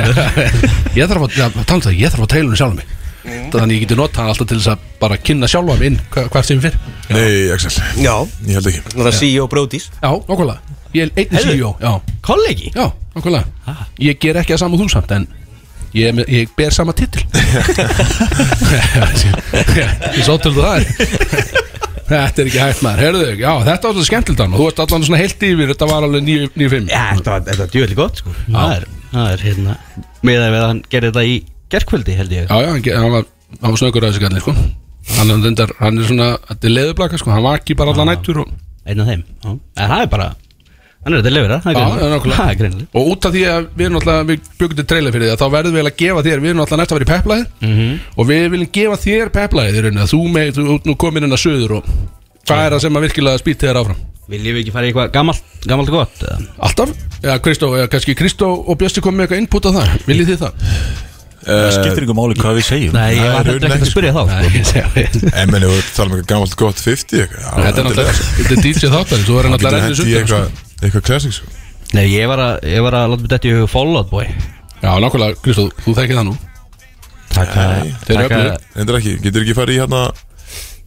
Ég þarf að, ja, tala um það, ég þarf að trailinu sjálf mig Mm. Þannig ég geti notað hann alltaf til þess að bara kynna sjálfa mig inn hva- hvað sem fyrr Nei, Axel Já Ég held ekki Það er E CEO Brodís Já, okkurlega Ég er einn Heyrðu, CEO, já Kollegi? Já, okkurlega Ég ger ekki að sama og þú samt, en ég, er með- ég ber sama <laughs> titil Ég svo til það er Þetta er ekki hægt maður, heyrðu, já, þetta var svo skemmtilegt hann og þú ert allan svona heilt yfir, þetta var alveg 9-5 Já, þetta var- þetta var djúvillig gott, sko Það er, það er hérna Með að hann gerði þetta í gerkvöldi, held ég Já, já, hann, ge- hann var, hann var snöggur að þessu gæli, sko Hann er, reyndar, hann er svona, þetta er leðublaka, sko Hann vaki bara alla nættur og Einn af þeim já. En það er bara, hann er þetta lefur, það er Já, já, greinilega. nákvæmlega. Það er greinilega Og út af því að við náttúrulega, við byggum til trailer fyrir því Þá verðum við eiginlega að gefa þér, við erum náttúrulega næst að vera í peplæði Mhm. Og við viljum gefa þér peplæði, þeir að Þú með, þú ert nú komin inn að söður og Hvað er það sem að virkilega spýti þér áfram? Viljum við ekki fara í eitthvað gamalt, gamalt og gott? eða? Alltaf? Já, Kristó, já, kannski Kristó og Bjössi kom með eitthvað input á það Viljið þið það? Það skiptir ykkur máli hvað við segjum Nei, ég Það var er hættur raunin ekkert að spyrja þá sko. En meni, þú tala um eitthvað gammalt gott 50 eitthvað. Þetta er náttúrulega, þetta er DJ þáttarins, þú verður Hann getur náttúrulega rennt í hendi í sundur, sko. eitthvað Eitthvað sko. classics <laughs> Nei, ég var að, ég var að láta mig þetta í hug Fall Out Boy Já, nákvæmlega, Kristó, þú þekkið það nú Takka, Þeir eru öflugir. Endur ekki, getur ekki farið í hérna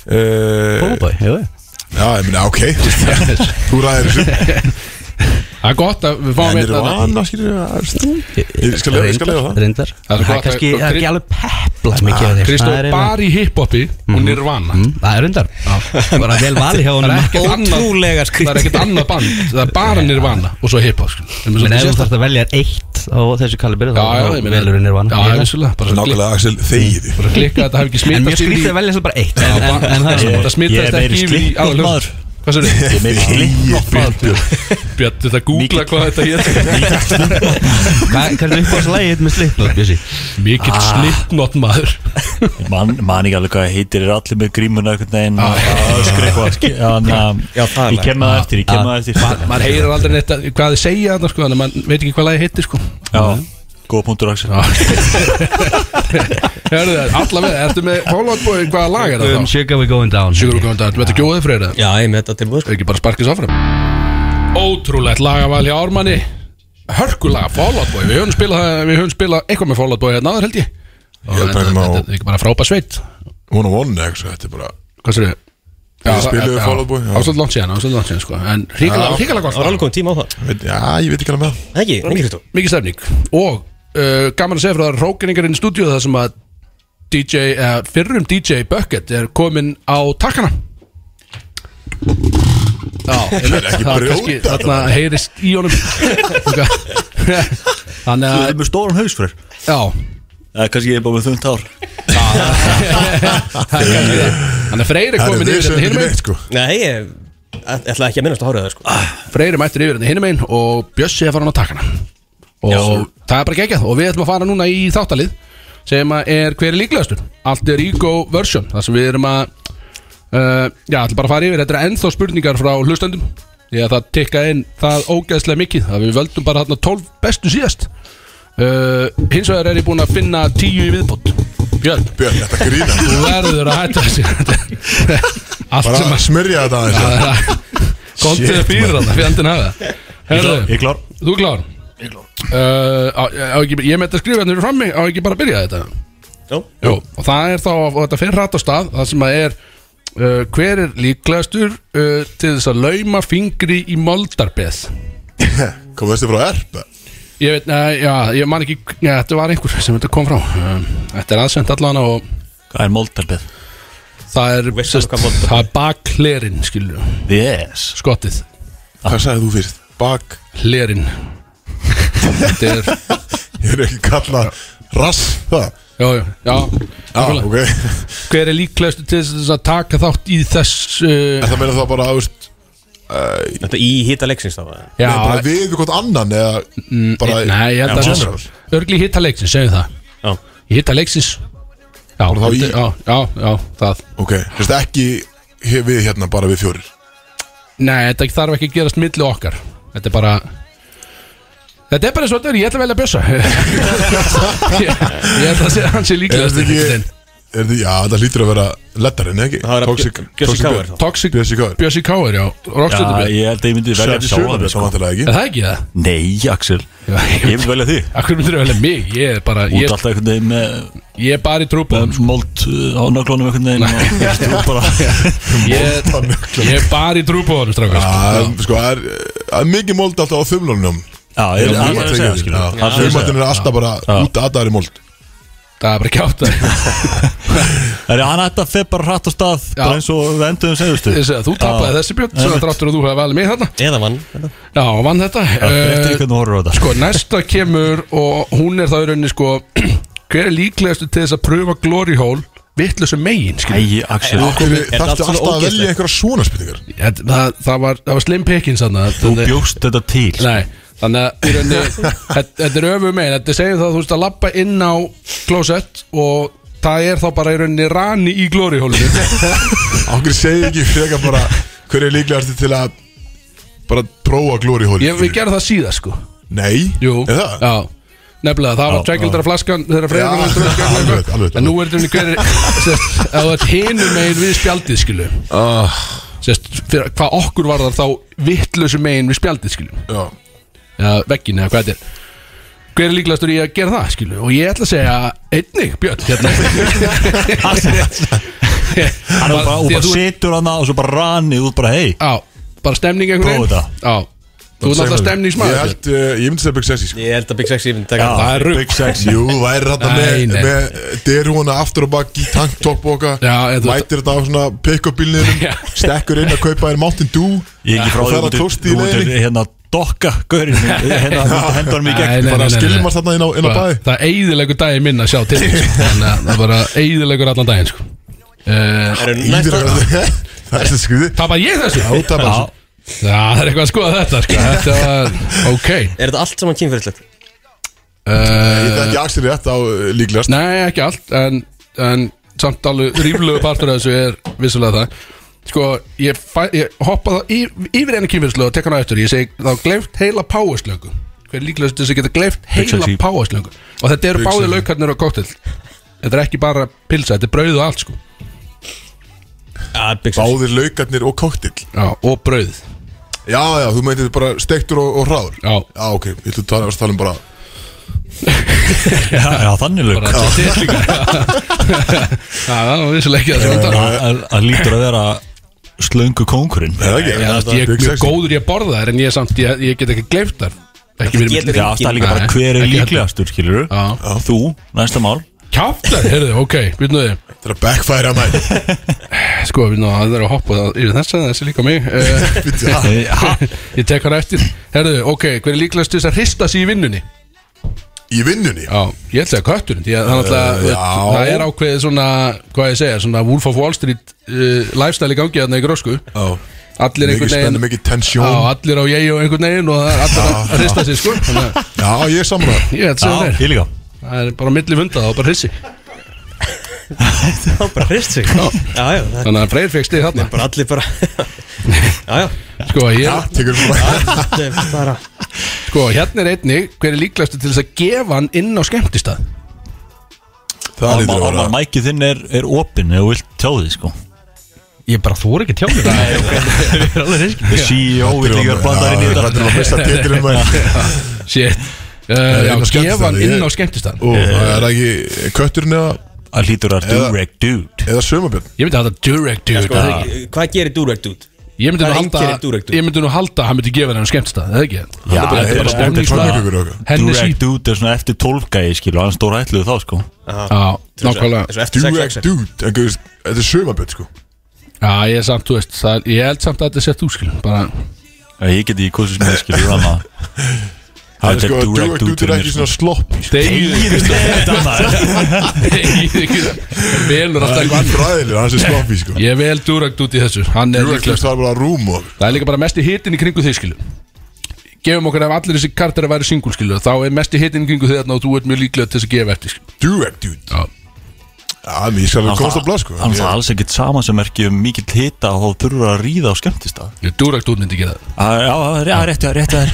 Fall uh, Out Boy, jú jú. Já, ég meina, ok <laughs> Þú ræðir þessu Það er gott að við fáum hérna- En vita eru þetta. vana, skilur við að stú Ég skal lega, ég skal lega það Reyndar Það Það er svo er gott að- kannski, það er ekki alveg pepla mikið af þér. Ah, Kristó Það er eiginlega- bara í hiphopi og nirvana Mm, Það er reyndar Bara vel valið hjá Það er honum ekkert annað Ótrúlega Það er skrýtt ekkert annað band Það er bara nirvana og svo hiphop sko. Það En ef er með svolítið þú sérstakt. þarfst að velja eitt á þessu kalibri Já, já, þá ég meina- velur henni Já, vann já, vissulega Bara svona Nákvæmlega, Axel, þegið því klikka- klikka að það hafi ekki En smitast mjög yfir í- skrítið að velja þess bara eitt en- en- en það er Já, svona- Það smitast meiri ekki yfir í slipknot aðalög. maður. Hvað sér þið? Ég meiri slipknot maður. Björn, þetta googla hvað þetta hér Hvað hvað er upp á þessu lægið með slipnót, Bjössi? Mikill Ah. slipknot maður Man, man ekki alveg hvað það heitir er allir með grímuna einhvern veginn og öskra eitthvað ske- þannig að Já, það er ég kem með það eftir, ég kem með það eftir Maður heyrir aldrei neitt að- hvað þið segja þarna sko Þannig að maður veit ekki hvað lagi heitir sko Já, góða punktur Axel Hörðu það, allavega, ertu með Fólkbói, hvaða lag er það Um þá? Sugar We're Going Down Sigur og Góðan, þetta er ekki óðið freyra Já, ég með þetta tilbúið sko ekki bara sparkis áfram Ótrúlegt lagaval hjá Ármanni Hörkulag, Fallout Boy Við höfum spilað, það- við höfum spilað eitthvað með Fallout Boy hérna áður held ég Og Ég þetta bæði þetta maður á er ekki bara frábæð sveit One on one, eitthvað, þetta er bara Hvað sér þið? Við spiluðum Fall Out Boy, já. Ásvöld langt síðan, ásvöld langt síðan sko En hrikalega, Já. hrikalega gott Það var lag. alveg komið tíma á það Veit- Já, ég veit ekki alveg með það Ekki, ekki Kristó Mikið stefning Og uh, gaman að segja frá það er Rókeringar inn í stúdíu Það sem að DJ, uh, fyrrum DJ Bucket er kominn á takkana Já, ég Það er ekki það er brjóta kannski þetta. þarna heyrist í honum Þannig Þú að, er með stóran haus fyrir já Það er kannski ég er bara með þungt ár Það er kannski það. Þannig að Freyr er Herru, komin við yfir segjum ekki hérna hinum einn neitt, sko. Nei, ég ég ætla ekki að minnast á hárið það sko Freyr er mættur yfir hérna hinum einn og Bjössi er farin á takkana Og það er bara geggjað og við ætlum að fara núna í þáttalið sem að er hver er líklegastur Alter Ego version þar sem við erum að uh, Já, ætlum bara að fara yfir Þetta er ennþá spurningar frá hlustendum Því að það tikka inn það ógeðslega mikið að við völdum bara þarna 12 bestu síðast uh, Hins vegar er ég búin að finna 10 í viðbót Björn, Björn, þetta grína þú verður að hætta þessu <laughs> Allt sem Bara að smyrja þetta aðeins sko. Það er að- Komdu Shit, þér fyrir maður. hann Fyrir andin hafa Ég Herðu, klár þú er klár Uh, á, á, ekki, ég með þetta skrifa hérna fyrir frammi á ekki bara að byrja þetta Jó. Jó, og það er þá og þetta fer rætt á stað það sem að er uh, hver er líklegastur uh, til þess að lauma fingri í moldarbeð Komið þessi frá erp? ég veit, uh, já, ég man ekki já, þetta var einhver sem þetta kom frá um, þetta er aðsend allan og hvað er moldarbeð? það er, alveg hvað moldarbeð- það er baklerin skilur yes. skottið Hvað sagði þú fyrst? Baklerin <laughs> Þetta er Ég er ekki kallað rass það Já, já, já, Já, nákvæmlega. <laughs> ok. Hver er líklegast til þess að taka þátt í þess uh, Það meina það bara, þú veist Þetta í hýta leiksins þá eða? Nei, bara við við hvort annan eða bara Nei, ég held Já, að general. Örgli hitta leiksins, segjum það Já. Hitta leiksins Já, Bara þá í- þetta- já, já, já, það Ok, þú veist ekki he- við hérna bara við fjórir Nei, þetta þarf ekki að gerast milli okkar Þetta er bara Þetta er bara eins og þetta er, ég ætla að velja að bjösa ég, <laughs> ég ætla að segja hans er Er líklegast þetta ekki er þetta- Já, það hlýtur að vera lettarinn, ekki? Það er að Toxic Bjö- Toxic Bjössi Káir Björn. þá. Toxic Bjössi Káir Bjössi Káir, já, rockstjörnubjörn Já, ég held að ég myndi velja Svefn sjálfan mig, sjálfan, sko. sko, vantilega <laughs> Er það ekki það? <laughs> Nei, Axel Ég myndi velja því Akkur myndir að velja mig, ég er bara Út Ég, alltaf einhvern veginn með ég er bara í trúbóðum sko. Mold uh, á nöglunum einhvern veginn og strú bara ég, ég er bara í trúbóðum strákar sko. Já, en, sko, það er, það er mikið mold alltaf á þumlunum <laughs> Já, ég er Það það að segja skilur. Það er það að segja. Þumlunum er alltaf bara út að það er mold Það er bara kjátt Það er hann ætti að feð bara hratt á stað bara eins og við enduðum segjustu Ég segi að þú tapaði þessi björn Svo Einmitt. þráttur að þú hefði valið mig þarna Eða mann Já, og vann þetta Eftir Eh, hvernig þú horfur á þetta Sko, næsta kemur og hún er það í rauninni sko <clears throat> Hver er líklegastu til þess að pröfa glory hole Vittlusu megin, skilur Æi, Axel Er þetta Þarftu allt svona alltaf að velja ógeðslegt? einhverja svona spurningar það, það, það, var, það var slim pickings þarna Þú Þannig- bjóst þetta til Nei, þannig að í rauninni, þetta- þetta er öfum megin Þetta segir það að þú veist að lappa inn á klósett og það er þá bara í rauninni rani í glórihólinu Ángri segi ekki frekar bara Hver er líklegast til að bara prófa glóri hóli Ég við gerðum það síðar sko Nei, Jú, er það? já Nefnilega, það var tveikildara flaskan þegar Já, <laughs> alveg, alveg, freyðan En nú alveg. er þetta hver sérst, að það er hinum megin við spjaldið skilu Ah. sérst, fyrir, hvað okkur var þar þá vittlösu megin við spjaldið skilu Já, eða veggin eða hvað þetta er hver er líklegastur í að gera það skilu og ég ætla að segja einnig Björn <laughs> hérna Hann er bara, og Því bara að þú- situr hann og svo bara ranni út bara hei á, bara stemning einhvern Prófa á, þú er alltaf Ég stemningsmaður held, uh, ég myndi segja Big Sexy sko. Ég held að Big Sexy myndi taka Það er rugl. Big sex Jú, væri þetta Nei, með, nei. með derúna aftur og bakk í tanktop og Já, eða okkar þú- Mætir þetta á svona pick-up Já. bílniðinum Stekkur inn að kaupa þér Mountain Dew Ég er ekki frá Og því fer á út í- klósti í út í- leiðinni. Hérna dokka Gaurinn Hérna hendur hann mikið Nei, nei, Bara nei, nei, skilmast nei. þarna inn á, inn á Bara- bæði Sko, það eiðilegur daginn minn að sjá til <laughs> þín, sko. þannig að það bara eiðilegur allan daginn sko. uh, Eru Íðir næsta- að <laughs> Það er þetta skriði það bara ég þessu Já, það er bara svo Já, það er eitthvað að skoða þetta sko. þetta var ok Er þetta allt saman kynfyrirslegt? Ég uh, þekki Axel rétt á uh, líklegast nei ekki allt en, en samt alveg ríflögu partur af þessu er vissulega það sko ég, fæ, ég hoppa þá yfir, yfir einu kynfyrslu og tek hana eftir ég segi þá gleyft heila páherslöngu hver er líklegast til þess að geta gleyft heila sexy. páherslöngu og þetta eru Big báði sexy. laukarnir og kóttill þetta er ekki bara pilsa þetta er brauð og allt sko Já, Big Sexy Báðir laukarnir og koktill Já, og brauð Já, já, þú meintir bara steiktur og, og hráður Já. Já, ok, ég ætla að tala, varst að tala um bara Já, já, þannig lög bara til líka Já, það var vissulega ekki það sem ég tala um. Það það- það lítur að vera slöngu kóngurinn Er það ekki? Já, þú veist, Ég er Big mjög sexy. góður í að borða þær en ég, samt, ég, ég get ekki gleypt þær Ekki verið getur Já, það er líka bara Nei, hver er ekki heldur. líklegastur, skilur Já. Þú, næsta mál Kjátt þær, heyrðu, ok, býtnu þið Þetta er að backfire að mæn Sko, býtnu það, það er að hoppa það yfir þessa, þessi líka mig Eh, Ég tek hana eftir Heyrðu, ok, hver er líklegast til þess að hrista sig í vinnunni? Í vinnunni Já, ég ætla að kötturinn Því að Eh, það er náttúrulega, já. það er ákveðið svona, hvað ég segja, svona Wolf of Wall Street uh, lifestyle í gangi þarna í grósku Já Allir Mikið einhvern veginn spennu, mikið tensjón Já, allir á ég og einhvern veginn og það er allir að hrista sig sko Þannig að Já, ég er samræð ég ætla að segja Já, þér ég líka Það er bara milli fundað og bara hrissi Það var bara hrist sig Já, já, það er Þannig að Freyr fekk stig þarna bara allir bara Já, já Sko, Já, ég, tekur svona Þetta er bara sko hérna er einnig Hver er líklegastu til þess að gefa hann inn á skemmtistað Það lítur að Alma, vera mækið þinn er, er opinn eða þú vilt tjá því sko Ég bara þóra ekki tjáni The CEO vil E líka blanda þér inn í Þetta er þetta að missa titilinn mæn Shit Eh, Það er já, inn á skemmtistaðinn, gefa hann ég- inn á Ó, skemmtistaðinn. Það er ekki kötturinn eða Það hlýtur að Durek Dude Eða sömabjörn Ég myndi að þetta Durek Já, Dude sko, það er ekki- Hvað gerir Durek Dude? Ég myndi Það nú er halda einkenni Durek Dude. Ég myndi nú halda að hann myndi gefa henni skemmtistað Það er ekki Hann Já, er bara- þetta þetta er bara stemningslag. stemningslag Henni sí Durek Dude er svona eftir 12 gæði skilu og hann stóra ætluðu þá sko Já, nákvæmlega. Þessu eftir sex, Durek sex. Dude en, þú veist, Þetta er sömabjörn sko Já, ég er samt, þú veist það er- Ég held samt að þetta sé þú skil Bara Já, ég geti í kursu sem ég skilu þannig að Það er Þetta sko að Durek Dude er fyrir ekki mér, svona sko. slopp Degiðu Degiðu Velur alltaf eitthvað annað. Fræðilega, hann sé slopp sko Ég vel Durek Dude í þessu Hann er Durek líklega Dude er bara rúm og Það er líka bara mesti hitin í kringu þig skilu Gefum okkur ef allir þessi kartar væri singul skilu Þá er mesti hitin í kringu þig þarna og þú ert mjög líklega til þess að gefa eftir skilu Durek Dude Já Já, mér skal við komst á blað sko Þannig að alls ekkert sama sem er ekki um mikill hita og þá þurfur að ríða á skemmtistað Ég dúrakt út myndi gera það Já, já, já, réttu það, réttu <laughs> það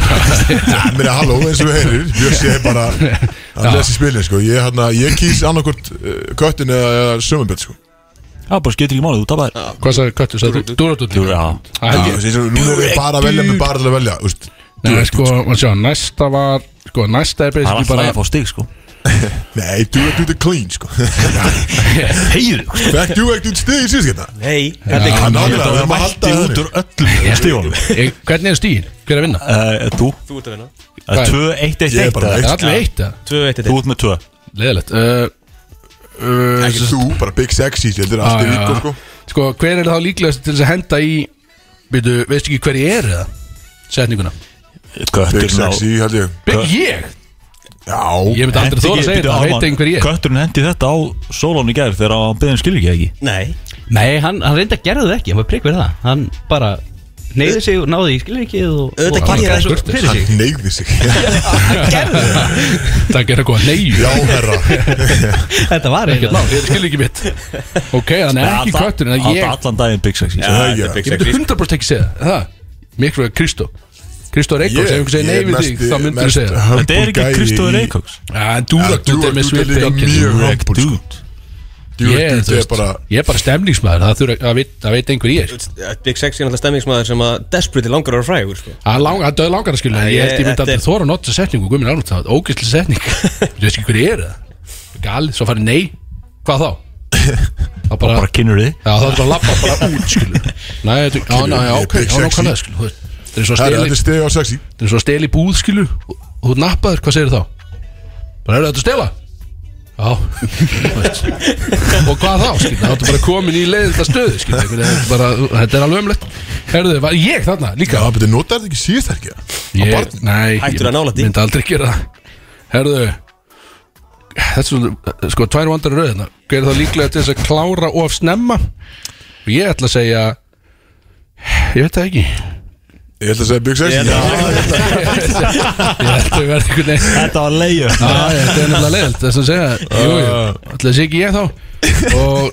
Já, mér er halló eins og við heyrir Bjössi er bara Hann lesi spilin sko Ég, hana, ég kýs annarkvort uh, köttin eða, eða sömumbett sko Já, bara skeytir ekki málið, þú tapar Hvað sagði Köttur, sagði þú? Dúrakt út Þú, já Já, Það held ég. þessi- Nú erum við bara að velja Með bara til að velja úst, Nei, sko, maður sjá, næsta var Sko, næsta er Það er basically alltaf bara að fá stig sko Nei, Durek Dude er clean sko Heiðu Fekk Durek Dude stig í síðskipta Nei, Þetta er kannan Þetta Það var er maður mætti alltaf út úr öllum stíðunum Ég- Eh, Hvernig er stíðin? Hver er að vinna? Þú, eh, Þú ert að vinna það er 2-1-1 Ég er bara Það með er eitt allir eitt, eða? 2-1 eh, Þú ert með 2 Leðilegt uh, uh, Ekki þú, bara Big Sexy Þetta er Já, alltaf já. ykkur sko Sko, hver er þá líklegast til þess að henda í Veitu, veistu ekki hver ég er eða? Setninguna Big Götturinn á Sexy, held ég Be Ég? Já, Ég myndi aldrei þóra að segja þetta, það veit einhver ég er. Götturinn hendi þetta á Solon í gær þegar hann byggði um skilvíkja ekki Nei Nei, hann, hann reyndi að gera það ekki, hann var prigg fyrir það Hann bara neyði sig og náði í skilvikið og Auðvitað og- gerði ég það svo Kurteis. fyrir sig. hann neyði sig Það gerir eitthvað neyju Já, herra Þetta var Ekkert eitthvað mál, þetta skil ekki mitt Ok, þannig er ekki kötturinn að Alltaf ég allan daginn Big Sexy Já, þetta er Big Ég myndi Sexy. 100% ekki segja það Það Miklu að Kristó Kristó Reykjavík, ef einhver segir nei við þig, þá myndir þú segja það Þetta er ekki Kristóður Eikóks Já, en Dúrak, Ja, þú er Durek, Dude er með svipið líka einkenni. mjög Durek, humble, sko. Dude. Durek Ég er, þú Dude er veist, bara ég er bara stemningsmaður, það þurfa- það veit- það veit einhver ég er. eh, Big Sexy er alltaf stemmingsmaður sem að desperately langar að vera frægur sko. Það er lang- það er langar að skilja, Nei, ég held ég ég- myndi þetta aldrei er- þóra að nota setningu, guð minn alveg það, ógæsli setning Þú veist ekki hver ég er það, gali, svo farið nei, hvað þá? Það bara, Bara kynur þið já það er bara að lappa bara út skilju Nei, þetta, já, Kynur já, já, þig, ok, big já, sexy. nákvæmlega skilju þú veist. Þetta er svo Herra, steli, þetta er steg á sexy þetta er svo steli búð skilju og og þú nappaður, hvað segir þá? Bara er þetta að stela? Já, <laughs> þú veist Og hvað þá, skilju, þá ertu bara komin í leiðinda stöðu, skilju einhvern veginn, þetta er bara- Þetta er alveg ömlegt Herðu, var ég þarna líka? Já, betur notar þetta ekki síðast ekki ég, Nei, Hættur ég að nálægt því. myndi aldrei gera það Herðu Þetta er svona, sko, tvær vandar í rauðina Hver er það líklega til þess að klára of snemma Og ég ætla að segja Ég veit það ekki Ég ætla að segja Big Sexy Já, Ég ætla að verða einhvern veginn <laughs> Þetta var leiður Já, já, Þetta er nefnilega leiðilt þess að segja Jú, jú, ætla að segja ekki ég þá Og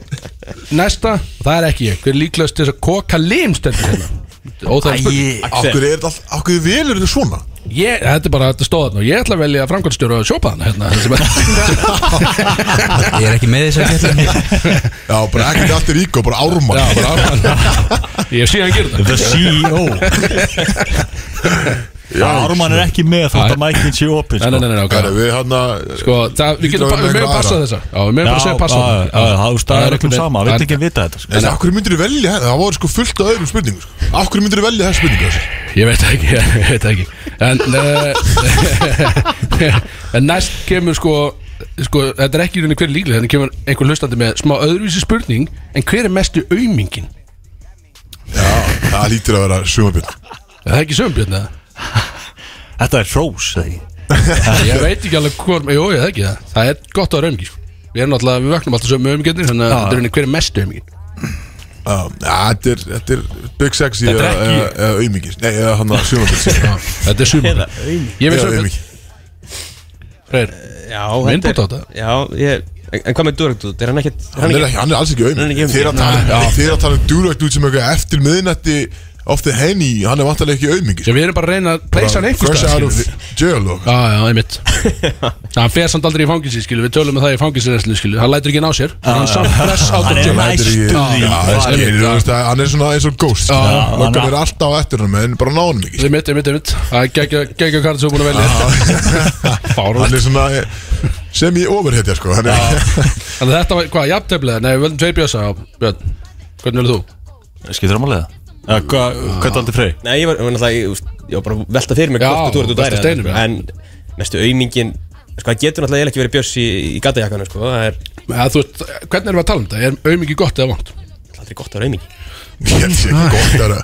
næsta, það er ekki ég Hver er líklegast til þess að koka limstendur hérna Óþægilegt spurning. Akkur er þetta Akkur velur þetta svona Ég, þetta er bara, þetta stóð þarna og ég ætla að velja framkvæmstjóra og sjópa hana hérna, þessi <laughs> bara- Ég er ekki með þess að geta Já, bara ekkert allt er ík og bara ármann Já, bara Ármann <laughs> Ég sé hann gera The <laughs> CEO Já, Ármann er ekki með þótt að mækinn sé opinn það Nei, nei, nei, nei, Herra, ok við hérna- hann að Sko, það, við getum Lítur að bara, vera við með meðum passa aðra. þessar Já, við meðum bara að segja passa Já, já, já, þú staðar öllum sama, Það vilt er- ekki vita þetta sko. En akkur myndir þú velja þetta? Það voru sko fullt af öðrum spurningum sko. Akkur myndir þú velja sko? þessa spurningu þessi? Ég veit ekki, <laughs> ég veit ekki En, uh, <laughs> en næst kemur sko Sko, þetta er ekki í rauninni hver er líklega Þannig kemur einhver hlustandi með smá öðruvísi spurning En hver er mestu aumingin? Já, það lítur að vera sumarbjörn Er það ekki sömbjörn <laughs> eða? Þetta er hrós, þegar Ég veit ekki alveg hvort, jú, ég það ekki það Það er gott að vera aumingi, sko Við erum alltaf, við vöknum alltaf sömu auminginni Þannig að þetta er henni hver er mestu aumingin Já, þetta er, þetta er Big Sexy Þetta er eða- ekki- eða- eða auðmikið Nei, eða hann að sumarbjörn Já, Þetta er Eða sömbjörn Ég veit Eða sömbjörn, auðmikið Freyr Já, Minn þetta er- bútt á þetta. Já, ég, en en hvað með Durek Dude? Er hann ekkit Hann er, ekki, hann er alls ekki Hann er auðmikið ekki Þeir að auminginn. tala- þeir að tala um durvægt út sem eitthvað eftir miðnætti off the henny, hann er vantarlega ekki auðmingi Við erum bara að reyna að Bara pleysa hann einhvers fresh out of jail og Já, já, einmitt Já, Hann fer samt aldrei í fanginsi, skilu, við tölum með það í fanginsiræslu, skilu Hann lætur ekki ná sér, Ah. <laughs> en hann samt press á Hann er næstu því Hann er svona eins og ghost Já, já. Lokkar er alltaf á eftir hann En bara ná hann ekki Einmitt, einmitt, einmitt Það er geggja- geggja kart sem við búin að velja <laughs> Fárútt Hann er svona eh, sem ég overhetja sko Hann er Þannig að þetta var, hvað, jafnteflið? Nei, við völdum tveir bjösa á Björn Hvernig vilja þú? Skiptir ámálega Eða hvað, hvað aldrei frey? Nei, ég var var náttúrulega, ég, úst, ég var bara að velta fyrir mig Já, hvort þú ert út velta að steinum, já. dæra En mestu aumingin, sko, það getur náttúrulega eiginlega ekki verið bjöss í, í gatajakkanu, sko Það er Ja, þú veist, hvernig erum við að tala um þetta? Er auðmikið gott eða vant? aldrei gott að vera aumingi <laughs> Ég sé ekki gott að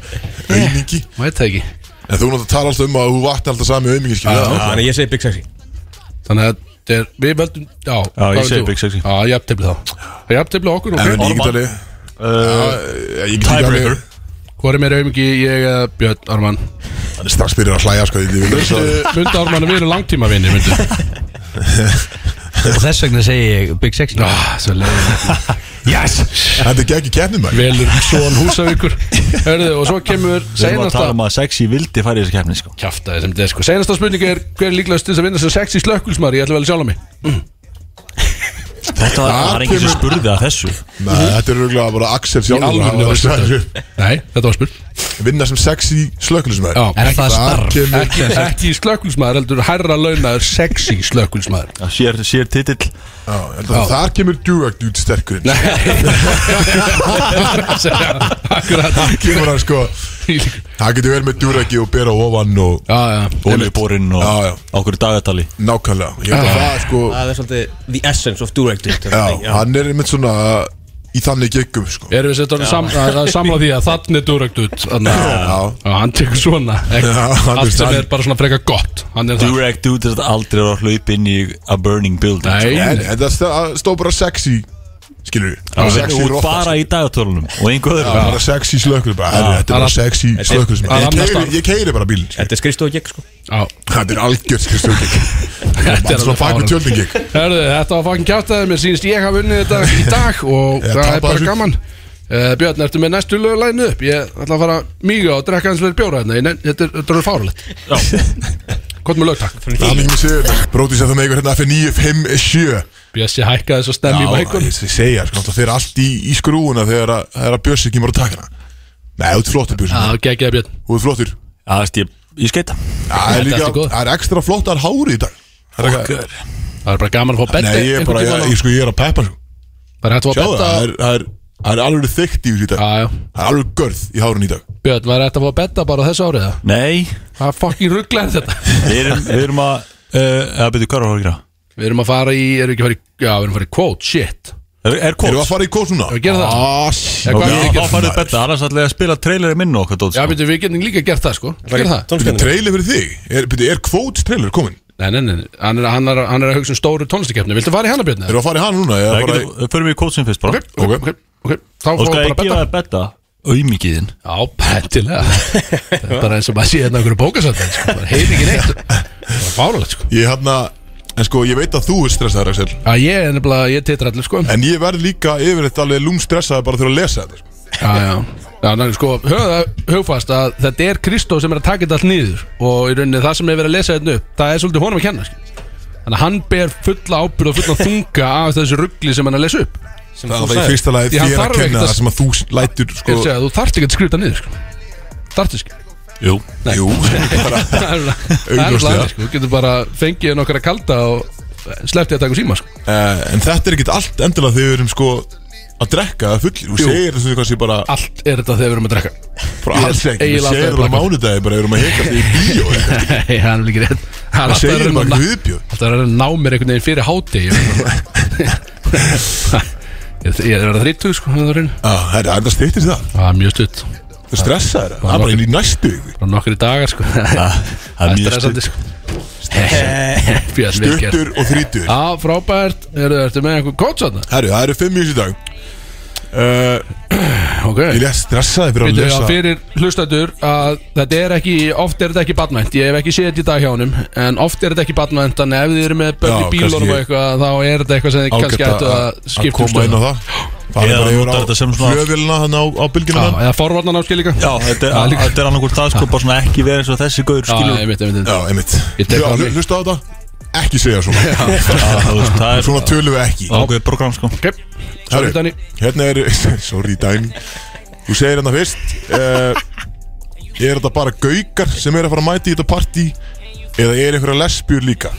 auðmingi Mæt það ekki En þú náttúrulega tala alltaf um að þú vatni alltaf sami auðmingi Já, já. skilja Þannig að ég segi Big Sexy Þannig að þetta er, við völdum, já Já, ég segi Big Sexy Já, jafnteflið þá Það er jafnteflið okkur og En eh, ég get Orman. alveg Já, ég get ekki Tiebreaker alveg Hvor er meira auðmikið, ég eða Björn Arman? Hann er strax byrjar að hlæja sko ég vil- Munda Arman, við erum langtíma vinni, myndu Og þess vegna segi ég Big Sexy Já, Ah, svo leiðin Yes Þetta er ekki ekki kefnum maður Velur svon húsavíkur Hörðu, og svo Við kemur erum að seinasta tala um að sexy vildi fara í þessu keppni sko Kjaftaði sem þetta er sko Seinasta spurning er, hver er líklegast til þess að vinna sér sexy slökkulsmaður? Ég ætla vel sjálf á mig Þetta var, Það var enginn sem spurði að þessu Nei, þetta er röglega bara Axel Í sjálfur alvörunni hann var var að þetta. segja. Nei, þetta var spurning Vinna sem sexy slökulismæður Já. Er það starf? kemur ekki, ekki slökkulsmaður, heldur herra launaður sexy <laughs> slökkulsmaður Það Sér, sér titill Já, ég held að Þar kemur dugagt út sterkurinn Nei Akkurat Það kemur hann sko Já, Það getur verið með dugagi og bera ofan og já Olíborinn og Já, já. okkur dagatali nákvæmlega Ég held að það sko Það er svolítið the essence of direct Já, hann er einmitt svona í þannig geggum sko Erum við sett orðin sam, að, að samla því að þann er durögt út Þannig Já. að Já, hann tekur svona ekki, Já, hann er Allt sem sann. er bara svona freka gott Hann er það Durag dude er þetta aldrei að hlaupa inn í a burning building sko. Nei, En nei. en það stó- stóð bara sexy Skilur við Það Sexy er rotta, bara í dagatólunum og einhver Já, öðrum bara sexy slökul bara, herri, þetta er bara Hann er- sexy slökul hann er ég, annars keyri- ég keiri bara bílinn skilur við. Þetta er skrifstofu gegn, sko Já. þetta er algjört skrifstjókik þetta er alveg svona bak fáránlegt. við tjöldin gig Herðu, þetta var fangin kjátaði Mér sýnist ég hafa unnið þetta í dag Og Ég það tapaði er bara þessu. gaman uh, Björn, ertu með næstu löguleginu upp? Ég ætla að fara mýga og drekka eins og verið bjóra hérna Ég nefn- Þetta er- þetta er fáralegt Hvort með lögtak Það er mikið með sigur Brótið sem þú meikur hérna F957 Bjössi hækkaði svo stemmi í mækun ég ég segja sko, náttúrulega þeir eru allt í, í skrúuna þegar að, þegar að Bjössi kemur að taka hana Nei, þú ert flottur Bjössi Já, geggjaði Björn Þú ert flottur Já, Já, það veist ég, ég skeita Það er Þetta líka, ertu góð. það er ekstra flottar hári í dag Það er ekki- Það er bara gaman að fá betta Nei, ég er bara, ég, ég, sko, ég er að peppa sko. Það er hægt að fá Sjáðu betta það, það er, það er, það er alveg þykkt í þessu í dag Já, já Það er alveg görð í hárun í dag Björn, var þetta að fá að betta bara á þessu árið? eða? Nei, Það er fucking rugglega þetta <laughs> við erum, við erum að uh, eða byrju, hvað er að horfa Við erum að fara í, erum við ekki að fara í Já, við erum að fara í quote, shit Ef Er, er Erum við kótt? að fara í kós núna? Við gerum það Ah, Eða shit hvað við Já, þá gerum farið betta, annars ætla ég að spila traileri minn og okkur dót Já, sko. veitum, við getum líka gert það, sko Gerum Byrju, það Tónskjöndum trailer fyrir þig Er, byrju, er kvóts trailer komin? Nei, nei, nei, nei. hann er, hann er, hann er að hugsa um stóru tónlistakefni Viltu fara í hana, Björn? eða? Erum við að fara í hann núna? Það Ég, bara, getur, förum við í kótsin fyrst bara ok. ok, ok Þá Og fáum skal við ég bara gefa betta það betta auðmikiðin Já, pendilega Þetta er bara eins og maður sé hérna okkur bókasöndin sko. Það heitir ekki neitt Það er fáralegt, sko ég hérna, en sko, ég veit að þú er stressaður, Axel Já, ég er nefnilega, ég titra allir, sko En ég verð líka yfir þetta alveg lúmstressaði bara þegar að lesa þetta sko. Já, já, já ná, sko, höfða, hugfast að þetta er Kristó sem er að taka þetta allt niður og í rauninni það sem er verið að lesa þetta upp það er svolítið honum að kenna skil. þannig að hann ber fulla ábyrð og fulla þunga af þessu ruggli sem hann er að lesa upp Það er alltaf í fyrsta lagi Ég, hann þér að þarf kenna ekkert að- það sem að þú lætur sko, ég segi að þú þarft ekki að skrifa þetta niður sko. þarft ekki Jú Jú, <laughs> bara það er Augljóslega. alveg sko. þú getur bara fengið nokkara kalda og sleppti að taka úr síma sko. uh, En þetta er ekkert allt endilega þegar við erum sko að drekka það fullir Þú Jú. segir þessu kannski bara allt er þetta þegar við erum að drekka frá alls ekki Þú eiginlega segir alltaf bara að mánudagi bara við erum að hekast <laughs> í bíó eitthvað. Nei, hann er líka rétt Hann Það alltaf segir að reyna bara að- Guðbjörn. Alltaf að reyna að ná mér einhvern veginn fyrir háti Ég Ég- ég er að vera 30 sko Það er Já, Það er Ah, þetta stýttir það ah, mjög stutt Þú stressaður það, það er bara inn í næstu viku. Bara nokkri dagar sko Það er mjög stressandi stutt sko Fjöld vel gert Duttur og þrítur Já, frábært Eru það ertu með einhver kóts aðna? Herru, það eru fimm mjög í dag uh, Ok Ég er stressaði fyrir að Veitu, já, lesa fyrir hlustatur að þetta er ekki, oft er þetta ekki badmænt Ég hef ekki séð þetta í dag hjá honum En oft er þetta ekki badmænt Þannig ef þið eru með börn Já, í kannski bílunum og eitthvað Þá er þetta eitthvað sem þið kannski ágætt ættu að- að að skipta um koma inn á stöðu það Farið Eða bara yfir á notar þetta sem svona- flugvélina þarna á, á hérna. bylgjuna Já, eða forvarnan áskil líka Já, þetta Já, er, líka. þetta er annarkur það sko bara svona ekki verið eins og þessi gaur skilur einmitt, einmitt, Já, einmitt Ég tek það á mig. Hlusta á þetta Ekki segja svona <laughs> Já. þú veist, það er- Svona tölum við ekki Ákveðið program sko Ok, Herru, <laughs> Hérna er <laughs> Sorry Dani Þú segir hérna fyrst uh, Er þetta bara gaukar sem er að fara að mæta í þetta partí Eða er einhverja lesbjur líka <laughs>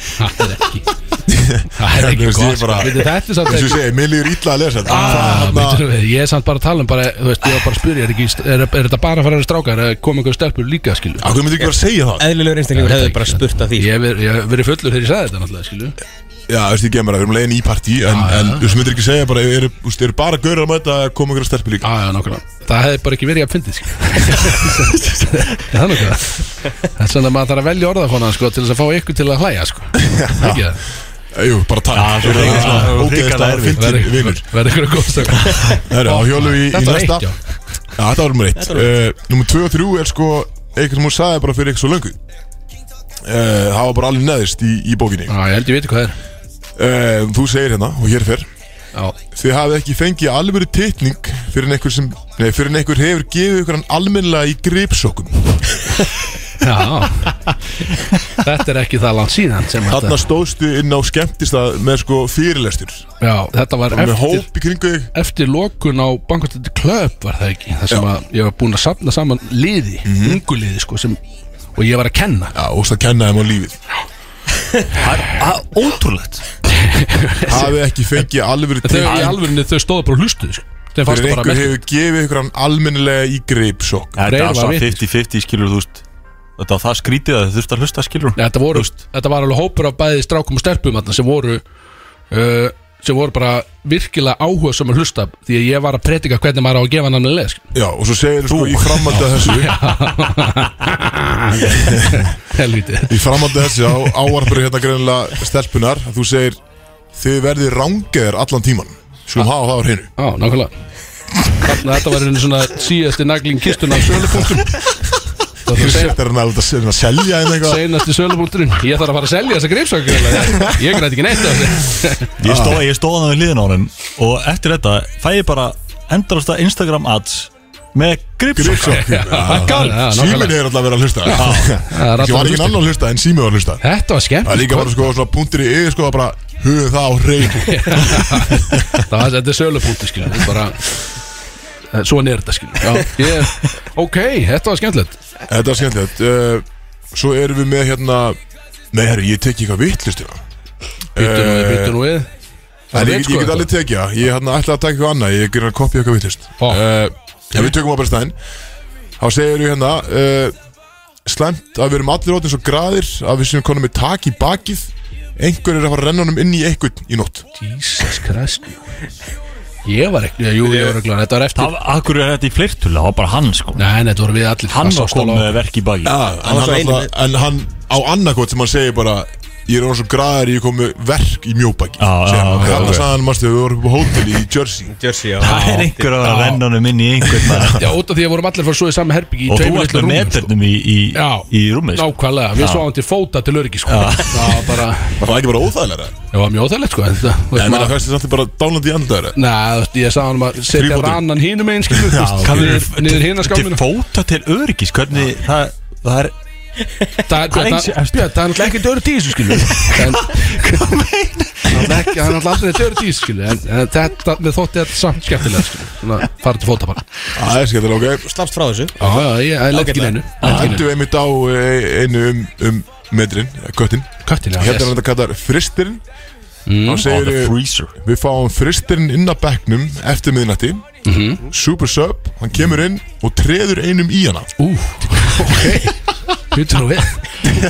Það er ekki Það er ekki gott, sko. Veitir, þetta er samt Þess að ekki- segja, mér líður illa að lesa þetta Ah, Það er veitir hérna- þú, Ég er samt bara að tala um bara, þú veist, ég var bara að spyrja Er, ekki, er, er þetta bara að fara að stráka, er að koma einhver stelpur líka, skilu Akkur myndi ekki bara segja það Eðlilegur einstaklingur hefði bara spurt að því Ég hef verið- ég hef verið fullur þegar ég sagði þetta náttúrulega, skilu Já, þú veist, ég gemur að við erum leiðin í partí En, en þú veist, myndir ekki segja bara Eru er, er bara gaurið að mæta að koma einhverja stelpur líka Já, já, nákvæmlega Það hefði bara ekki verið að fyndið, skilu <laughs> Það er nákvæmlega Það er svona að maður þarf að velja orðafóna, sko, til þess að fá ykkur til að hlæja, <laughs> sko Ekki það? Jú, bara takk Já, svo hrikalega- svo hrikalega erfitt. Fyndin Verður- vinnur Verður ykkur að góðstöka Það eru á hjólu í, í Þetta var næsta eitt, já. Já, þetta var nummer eitt Þetta var uh, Nummer 2 og 3 er sko eitthvað sem hún sagði bara fyrir eitthvað svo löngu uh, Það var bara alveg neðist í, í bókinni Já, ég held ég veit hvað er uh, Þú segir hérna og hér fer Já. Þið hafið ekki fengið alvöru titning fyrir en einhver, sem, nei, fyrir en einhver hefur gefið ykkur hann almennlega í gripsokkum Já, þetta er ekki það langt síðan sem að- Þarna stóðstu inn á skemmtistað með sko fyrirlestur Já, þetta var Bara með eftir hóp í kringu þig Eftir lokun á Bankastöldi Klöp var það ekki Það sem Já. að ég var búinn að safna saman liði Ungu liði sko sem Og ég var að kenna Já, og það kenna þeim á lífið Ótrúlegt Hafið ekki fengið alvöru Þau í titning alvörinni þau stóðu bara og hlustuðu sko Þeim fannst fyrir það bara einhver mest hefur gefið ykkur hann almennlega í gripsokk Þetta Freyr er var alltaf vitni, 50-50 skilur þú veist Þetta var það skrítið að þau þurft að hlusta skilur Nei, þetta, voru, þetta var alveg hópur af bæði strákum og stelpum þarna sem voru uh, sem voru bara virkilega áhuga sem að hlusta því að ég var að predika hvernig maður á að gefa hann að lesk Já, og svo segir sko í framhaldi að <laughs> þessu Helviti Í framhaldi að þessu á áarpur hérna greinilega stelpunar að Þú segir, þið verðið rángeðir allan tíman Skulum hafa það á hreinu Já, nákvæmlega Þarna þetta var einu svona síðasti nagling kistuna af sölupunktum Ég hérna, hef sett þér hann alveg að se- að selja henni eitthvað Seinasti sölupunkturinn Ég þarf að fara að selja þessa greifsöku Ég græti ekki neitt af þessu <laughs> Ég stóð, Ah. ég stóð það við liðin á honum Og eftir þetta fæ ég bara endalasta Instagram ads Með gripsokk Gripsokk, já. Já, Símin nákvæmlega. er alltaf verið að hlusta það er Ég var <laughs> ekki allan hlustað. annan að hlusta en sími var að hlusta Þetta var skemmt Það er líka bara sko svona punktur í yfir sko að bara höfum það á hreinu Það var þetta er sölupunktur skilur við, bara eh, Svona er þetta skilur við. Já, ég, Ok, þetta var skemmtilegt Þetta er skemmtilegt uh, Svo erum við með hérna Nei, herri, ég tek eitthvað vittlustina Býttu nú við, býttu nú við Eh, En ég, Það veit ég sko get þetta. alveg tekið það, ég hérna, ætla að taka eitthvað annað, ég gerði að kopja eitthvað vittlust Ó. oh. uh, Ef við tökum á bara stæðin, þá segir við hérna uh, Slemt að við erum allir átins og graðir, að við séum konum með tak í bakið Einhver er að fara að renna honum inn í eitthvað í nótt Jesus Christ Ég var ekki, jú, ég var ekki Þetta var eftir Það, akkur er þetta í fleirtölu, það var bara hann sko Nei, þetta voru við allir Hann Það var sást komið alveg á- með verk í baki ja, Ah, en, hann var svo hann einu alltaf, en hann á annarkot sem hann segir bara Ég er orðin svo graðir, ég kom með verk í mjóbaki Já, já, ok, Þannig ok. að sagðan, mástu, við vorum upp á hótel í Jersey Jersey, já Það er einhver að vera að renna honum inn í <laughs> einhvern maður. Já, út af því að vorum allir að fara svo í sami herbyggi í Og þú tveimur ert litlum með rúmum, meternum í, í, Já. í rúmið sko. Nákvæmlega, við sváum til fóta til öryggi sko. Það var bara, Var það ekki bara óþægilega? það var mjög óþægilegt sko. þetta- þú veist, En það maður- fæstu samt bara dánandi í andara Nei, þú veist, ég sagði hann að setja Þrífótur. rannan hínum einn skilur þú veist, Hvað niður- er- Niður hína Til skáminu fóta til öryggis Hvernig það, það er Það er Björn, Hvað er- það- Björn, það er náttúrulega ekki dörr tísu skilur En Hvað meina? Það er ekki- það er náttúrulega aldrei dörr tísu skilur En en þetta, með þótti þetta samt skemmtilega skilur Þannig að fara til fóta bara Það er skemmtilega, ok Slappst frá þessu Já, já, ég ég leit ekki í neinu Það endur við einmitt á eh, einu um, um metrin, köttin Köttin, já, Hérna er yes. þetta kallar fristirinn Þá On segir Mm. the við, freezer við fáum fristirinn inn að bekknum eftir miðnætti Mhm. Super sub, hann kemur inn og treður einum í hana Ú, ok Hvítur nú við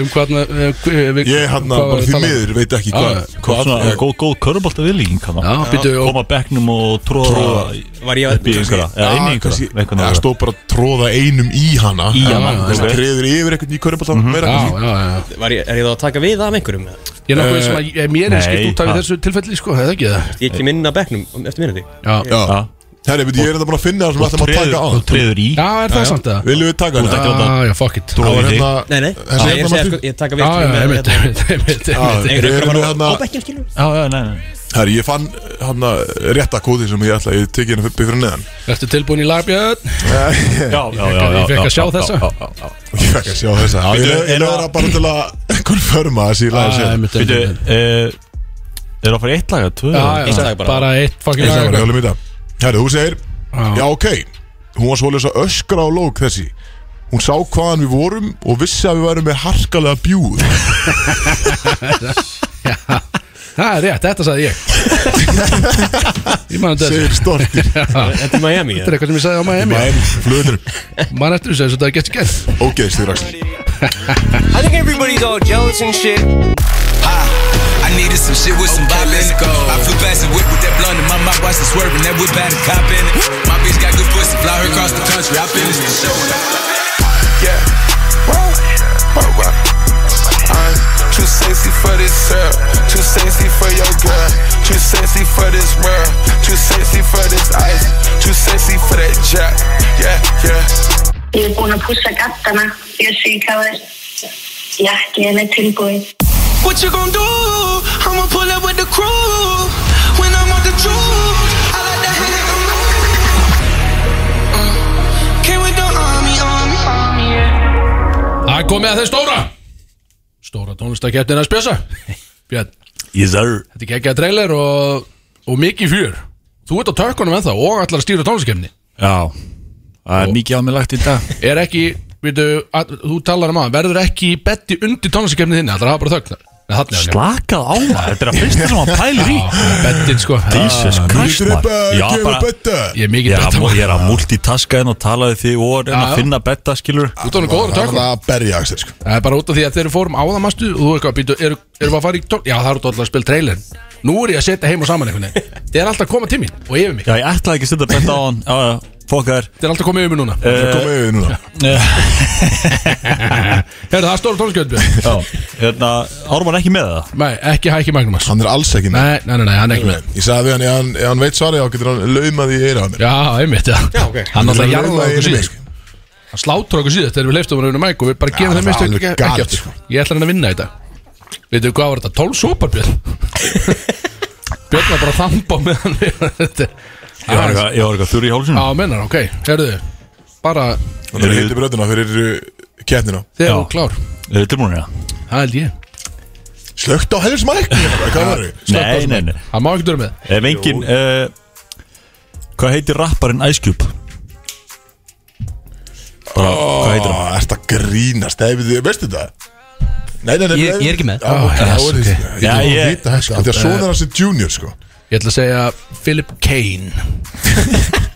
Um hvaðna eh, hv- við- Ég hann hvað var bara við því talað um? miður, veit ekki Já, hvað Hvað hvað- Ah, svona eh, góð, góð körubolt að viljum Já, býtu, og- Koma bekknum og tróða Var ég að- upp í einhverja Eða inn í Já, kannski- einhverja einhvern Já, veginn. stóð bara að tróða einum í hana Í Já, hana, þú veist, ok. Mhm. Ah. Treður yfir eitthvað í körnbóltan meira Já, kannski. já, já Var ég, er ég þá að taka við af einhverjum? eða? Ég er nokkuð sem að ég- mér er nei, skipt út af í ha. þessu tilfelli sko, hefði ekki það Ég kem inn að bekknum um- eftir minni Já, Já, Já. herri, veit, ég er þetta bara að finna það sem við ætlum að taka á Og treður í já er það samt það? Ah, Viljum við taka ert hana? ekki að láta- Já, já, fuck it Já, Það var í þig. hérna Nei, nei, Þessi Ah, ég, sko, hérna ég, máttu- ég, ég taka við já, með- einmitt, einmitt, einmitt Já, Þeir eru hérna- Við bara erum með að fara á- hérna á bekkinn skilur Já, já, nei, nei Herri, ég fann hann að rétta kóði sem ég ætla, ég teki hérna upp fyrir neðan Ertu tilbúin í lagbjörn? Já, já, Ég fekk að sjá þessa Ég fekk að sjá þessa Já, Bíddu, Ég er Ah, lögur það bara til að konfirma þessi í Ah, lagi sér Býtu, er það eh, að fara í eitt laga? Tvö? Já, já, Eitt lag bara eitt fucking Eitt lag. lag bara hjálum í dag Herri, þú segir Ah. Já, ok Hún var svolítið að öskra á lók þessi Hún sá hvaðan við vorum og vissi að við værum með harkalega bjúð Það er rétt, þetta sagði ég Ég man þetta Segir stortir <laughs> Þetta er Miami Þetta er eitthvað sem ég sagði á Miami Miami, flugutur Man eftir þessu, þetta er gett gert Ógeðstur, Axel I think everybody's all jealous and shit. I needed some shit with some bop in it. I flew past the whip with that blunt in my mouth, watched it swerving. That whip had a cop in it. My bitch got good pussy, fly her across the country. I finished the show. and I- Yeah. Woo. Woo, woo. I'm Too sexy for this sir. Too sexy for your girl. Too sexy for this world. Too sexy for this ice. Too sexy for that jack. Yeah, yeah. Ég er búin að pússa gattana. Ég sé hvað er. Jakkinn er tilbúin. What you gonna do? I'ma pull up with the crew. When I'm on the truth, I like to hang on. Mm. Came with the army, army, army, yeah. Það er komið að þeim stóra Stóra tónlistakeftin <laughs> að spjösa Björn, Yes sir þetta er geggjað trailer og, og mikið fjör Þú ert á tökkunum ennþá og allar að stýra tónlistakefni Já, það er mikið ámilagt í dag Er ekki, veitu, að, þú talar um að verður ekki betti undir tónlistakefni þinni Allar hafa bara þögnar Nei, þarna er hann. Slakað á maður, þetta er að fyrsta sem hann pælir í Bettin sko Jesus Ah, Christ maður mikið betta, Já, gefur bara- betta. Ég er mikið Ég að- betta, maður. Ég er að multitaska henn og tala við þig og reyna Já, já. að finna betta skilur Þú ert alveg góður að taka Það að berja Axel sko Það er bara út af því að þeir eru fórum áðan mástu og þú eitthvað býtu, eru, eru að fara í tón Já, það eru alltaf að spila trailer Nú er ég að setja heim og saman einhvern veginn Þetta er alltaf að koma til mín og yfir mig Já, ég ætlaði ekki að setja betta á hann Já, já, fokkar Þetta er alltaf að koma yfir mig núna Þetta er komið yfir núna Herðu, það er stóra tónskjöld Já, hérna, Ármann ekki með það? Nei, ekki Hækki Magnúmas Hann er alls ekki með Nei, nei, nei, hann er ekki með Ég sagði við hann, ef hann, ef hann veit svarið á getur hann laumað í eira á mér Já, einmitt, já Já, ok Hann alltaf jarðaði okkur síðan sko. Hann slátur okkur síðan þegar við leiftum hann yfir mæk og við bara gerum Já, það þeim er mistök alveg ekki galið, ekki aftur sko. Ég ætla hann að vinna þetta Veitu hvað var þetta? 12 sopar <laughs> Björn Björn var bara að þamba á meðan við- Þetta Ég var eitthvað- ég var eitthvað þurr í hálsinu Já, mennar, ok, herðu Bara Þannig að hittu bröðuna fyrir uh, keppnina Þegar þú klár Er hérna? þetta múnir það? Það held ég Slögt á helfsmæk Hvað var Nei, nei, nei Það má ekki dörra með Ef engin uh, Hvað heitir rapparinn Ice Cube? Bara, hvað heitir hann? Erst að grínast, hefur þið, veistu þetta? Nei, nei, nei Ég- nei. ég er ekki með. Já, ok, Ah, þá er yes, þið- ok. Ég Já, er ég- að vita það, sko Þetta er sko, svona eh, hans junior, sko Ég ætla að segja Philip Kane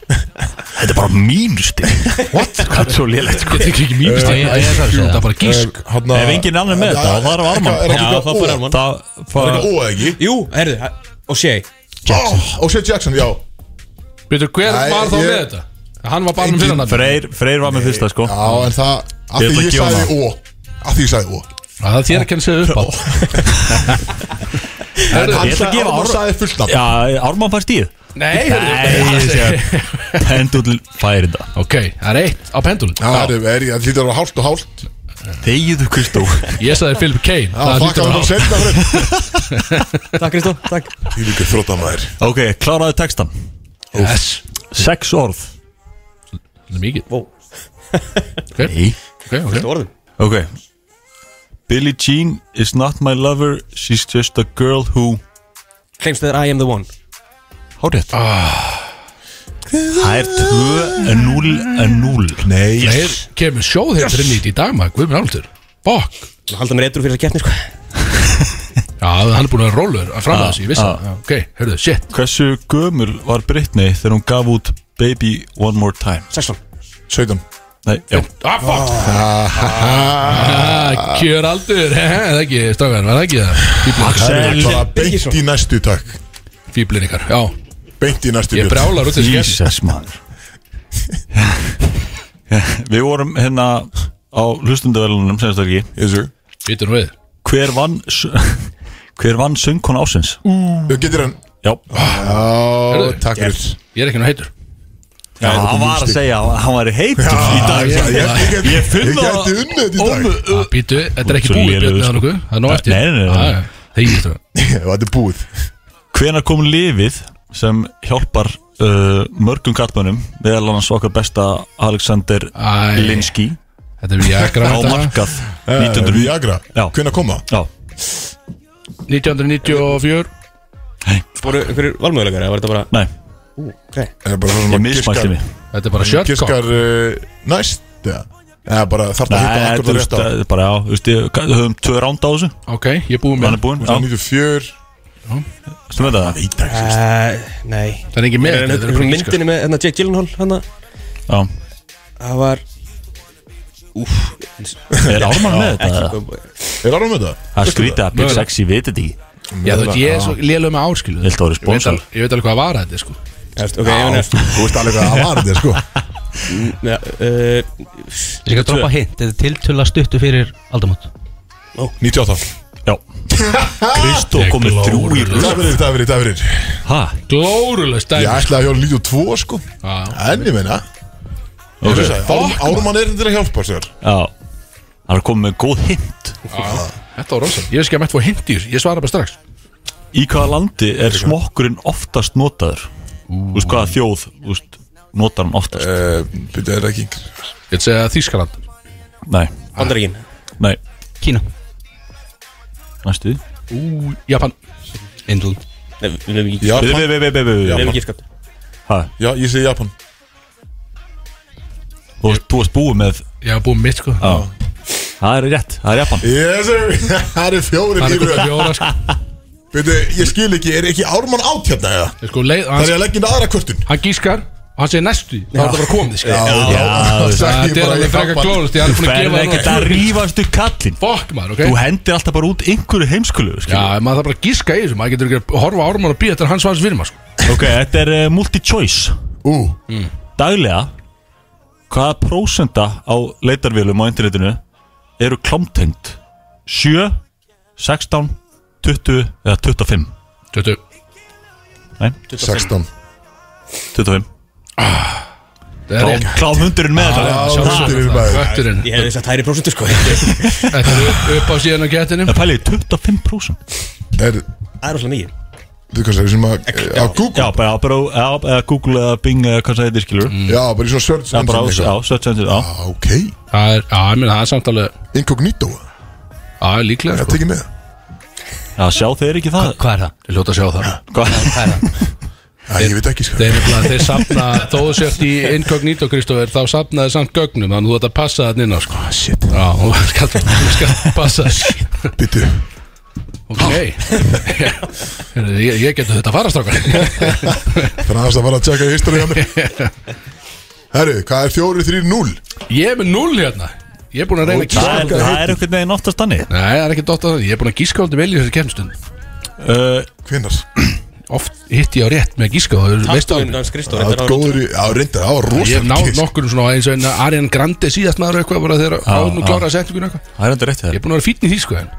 Þetta er bara mínustig What? Hvað er svo lélegt sko? Ég tek ekki mínustig. mínustig, ég- ég- ég- það er bara gísk. Ef engin annar er með þetta, þá þarf Ármann Er ekki Já, eitthvað þá ó? fær Ármann. Það- Er fær- ekki ó, eða ekki? Jú, heyrðu, og sé Og sé Jackson, já Býtu, hver Nei, var þá ég- með þetta? Hann var bara með fyrra nafn Freyr, Freyr var með fyrsta sko Já, en það Af Ég ætla því að ég gefa sagði það. ó Af því ég sagði ó Það er þér að kenna sig upp á Ég Herðu, hann ætla að sagði- gefa Ármann sagði fullt nafn. Já, Ármann fær stíð Nei, Nei, ég sé að Pendullin fær þetta Ok, það er eitt á pendulin Já, herðu, er ég, það lítur að vera hálft og hálft Þegiðu Kristó Ég sagði Philip Kane Já, þakka hann að senda fyrir Takk Kristó, takk Því líka þróttamæður Ok, kláraðu textan Yes Sex orð Það er mikið Vó Nei Ok, ok Þetta orðum Ok Billie Jean is not my lover She's just a girl who Claims that I am the one Hárið Það er 2-0-0 Nei Freyr kemur sjóð hér fyrir nýtt í dag maður Guð minn áldur Bokk Halda mér eitthvað fyrir þess að keppni sko Já, hann er búin að vera rólur að framlega þessu, ég vissi það Já, Ok, hörðu, shit Hversu gömul var Britney þegar hún gaf út Baby One More Time? 16 17 Nei, já Ah, fuck Kjör aldur, he, he, það <laughs> er ekki, strákar, var það ekki það? Axel Fíflin Bara beint í næstu, takk Fíblin ykkar, já Beint í næstu Ég Björn. brjálar út þessu skemmt. Jesus maður <laughs> Við vorum hérna á hlustundavelunum senast ekki Yes sir Býtur nú við Hver vann s- <laughs> Hver vann söngkona ásins? Þú getur hann Já Já, Herðu, takk fyrir Ég er ekki nú heitur Já, þetta hann kom var að mistök. segja að hann væri heitur í dag ég- ég- ég- Ég finn ég það gæti unnið þetta í dag. <laughs> ómu- Ah, Býtu, þetta Þú er ert ekki svo búið lélegur, björn eða sko. nokkuð Það er nóg Nei, eftir nei, nei, nei. nei Það er ekki, strákar Og þetta er búið Hvenar kom lifið sem hjálpar uh, mörgum kattmönnum meðal annars okkar besta Alexander Æ. Linsky Þetta er Viagra, Á þetta. markað Eh, 1900 Viagra? Hvenar koma? Já 1994 Voru ykkur valmögulegar eða var þetta bara Nei Ú, okay. Það er Eh, bara svona Ég mismælti mig. Þetta er bara shotgun. Giskar uh, næst ja. Eða bara þarf að hitta Nei, akkur þú það rétt veist, á það er bara, já, þú veist, ég- við höfum tvö ránd á þessu Ok, ég búið með Hann er búinn, já 94 Þú veit það? Veit ekki Eh, Nei Það er ekki með þetta, þetta er Hún ekki myndinni með hérna Jake Gyllenhaal hérna Já Það var Úf Er Ármann með þetta? Er Ármann með þetta? Það er skrítið að Big Mögulega. Sexy veit þetta ekki Já, þú veit, ég er svo lélög með árskilu Viltu að vera sponsor? Ég veit alveg hvað var þetta, sko Erst, ok, ég meina Þú veist alveg hvað það var þetta, sko Já, uh, Ég skal droppa hint, þetta er tiltöla stuttu fyrir aldamót 98 Já Kristó Ég komið glóru. þrjú í röð. Takk fyrir, takk fyrir, takk fyrir Hæ? Glórulega Ég ætlaði að hjóla 92 sko En ég meina Ok. Ég hugsaði, Ár- Fuck, Ármann er til að hjálpa sér Já Hann er komið með góð hint Þetta var rosa Ég veist ekki að mætt fóð hindi í þessu, ég svara bara strax Í hvaða landi er smokkurinn oftast notaður? Þú veist hvaða þjóð þú veist, notar hann oftast? Uh, Byrja er ekki Ég ætla að segja Þískaland Nei Bandaríkin Nei Kína Næstu Ú, Japan Indland Nei, við hefum ekki Japan. Við- við- við- við- við- við- Við hefum Japan. ekki skapt Hæ? Já, ég segi Japan Þú veist, þú veist búið með Ég hafa búið mitt, sko Já Það er rétt, það er Japan Yes, sir. <laughs> það er fjóri Það er komið fjóra, sko Byrju, ég skil ekki, er ekki Ármann átt hérna eða? Ég sko, leið Það er ég að leggja inn aðra kvörtun Hann gískar og hann segir næstu því. Þá er þetta bara komið, sko Já, já, já, <laughs> sagði ég Þetta er bara, alveg ég frekar hjálpa. glóðlust Ég er Þú búin að ferð gefa ekkert að rífast upp kallinn Fokk maður, Þú ok hendir alltaf bara út einhverju heimskulu Já, maður þarf bara að gíska í þessu Maður getur ekki að horfa á ármann og býja Þetta er hans vans fyrir maður, sko Ok, þetta er uh, multi-choice Ú Daglega Hvaða prósenda á leitarvélum á internetinu eru klámtengd? 7, 16, 20 eða 25? 20 Nei, 16 25 Það er rétt. Klámhundurinn með þetta Sjálfsögðu Kötturinn Ég hefði sagt hæri prósentu sko <laughs> Það Þetta er upp- upp á síðan á kettinum Það pæliði 25% Er, er rosalega mikið þú kannski, sem að Á Google Já, bara, bara já, eða Google eða Bing eða hvað það er skilur mm. Já, bara í svona search Já, bara á, engine já, eitthvað. search engine, já Já, ok Það er, já, ég meina, það er samt alveg Incognito Já, líklega, Það sko tekið með Já, sjá þeir ekki það Hvað er það? Ég hljóta að sjá það Hvað Hvað? er það? Æ, ég veit ekki, sko Þeir, nefnilega- þeir safna, þó þú sért í incognito Kristófer, þá safnaði samt gögnum þannig þú ætti að passa það inn á sko Shit, Já, þú skal, þú skal passa byttu Ok <laughs> Heyrðu, ég, ég getur þetta að fara strákar Þannig að það var að tjekka í history hjá <laughs> mér Herru, hvað er 4-3-0? Ég er með null hérna Ég er búin að reyna að Það gíska er, það er einhvern veginn oftast þannig Nei, það er ekki dótt að það Ég er búin að gíska aldrei vel í þessu kemstund uh, Hvinnar? Oft hitt ég á rétt með að gíska og veistu Takktóin það hans Kristóf Það er góður í, já, reyndar, það var Ég hef rosalega náð gisk. nokkur svona eins og enn að Arjan Grandi síðast maður eitthvað bara þegar áður nú klára að setja ykkur eitthvað Það er enda rétt Ég þér er búin að vera fítn í því sko en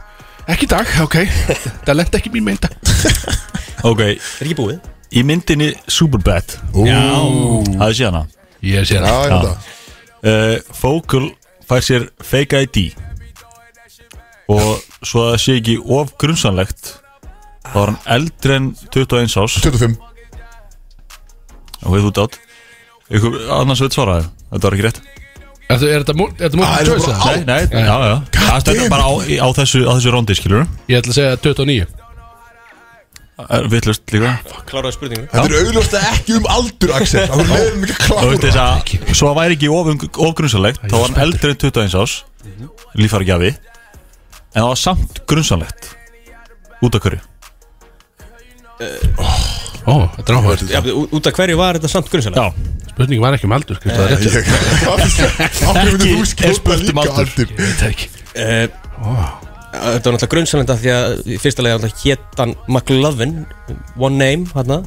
Ekki í dag, ok Það lenda ekki mín meinda Ok, Er ekki búið í myndinni Superbad Ú, Já, Það er síðan að Ég sé það ég veit það uh, Focal fær sér fake ID og svo að það sé ekki of grunnsanlegt þá er hann eldri en 21 ás 25 og hefðu út átt Ykkur, annars veit svaraði, þetta var ekki rétt Er þetta- er þetta mú- er þetta Ah, múlið er þetta choice bara það? á- Nei, nei, já, já Það stendur bara á, í- á þessu, á þessu rondi, skilur Ég ætla að segja 29 Vittlust líka Kláraði spurningu Þetta er augljóslega ekki um aldur, Axel Það er meðlum ekki Þú veist klára þess að, svo að væri ekki of, of grunnsanlegt þá var hann eldri en 21 ás lífargjafi en það var samt grunnsanlegt út af hverju Ó, þetta er áhverð Já, betur, ú- Út af hverju var þetta samt grunnsalega? Já, Spurning var ekki um aldur Kristof, það er rétt. Akkur myndir þú er skjóta spurt um líka aldur. aldur Ég veit það ekki Uh, Þetta var náttúrulega grunnsalenda því að í fyrsta lega hétt hann McLovin One Name hérna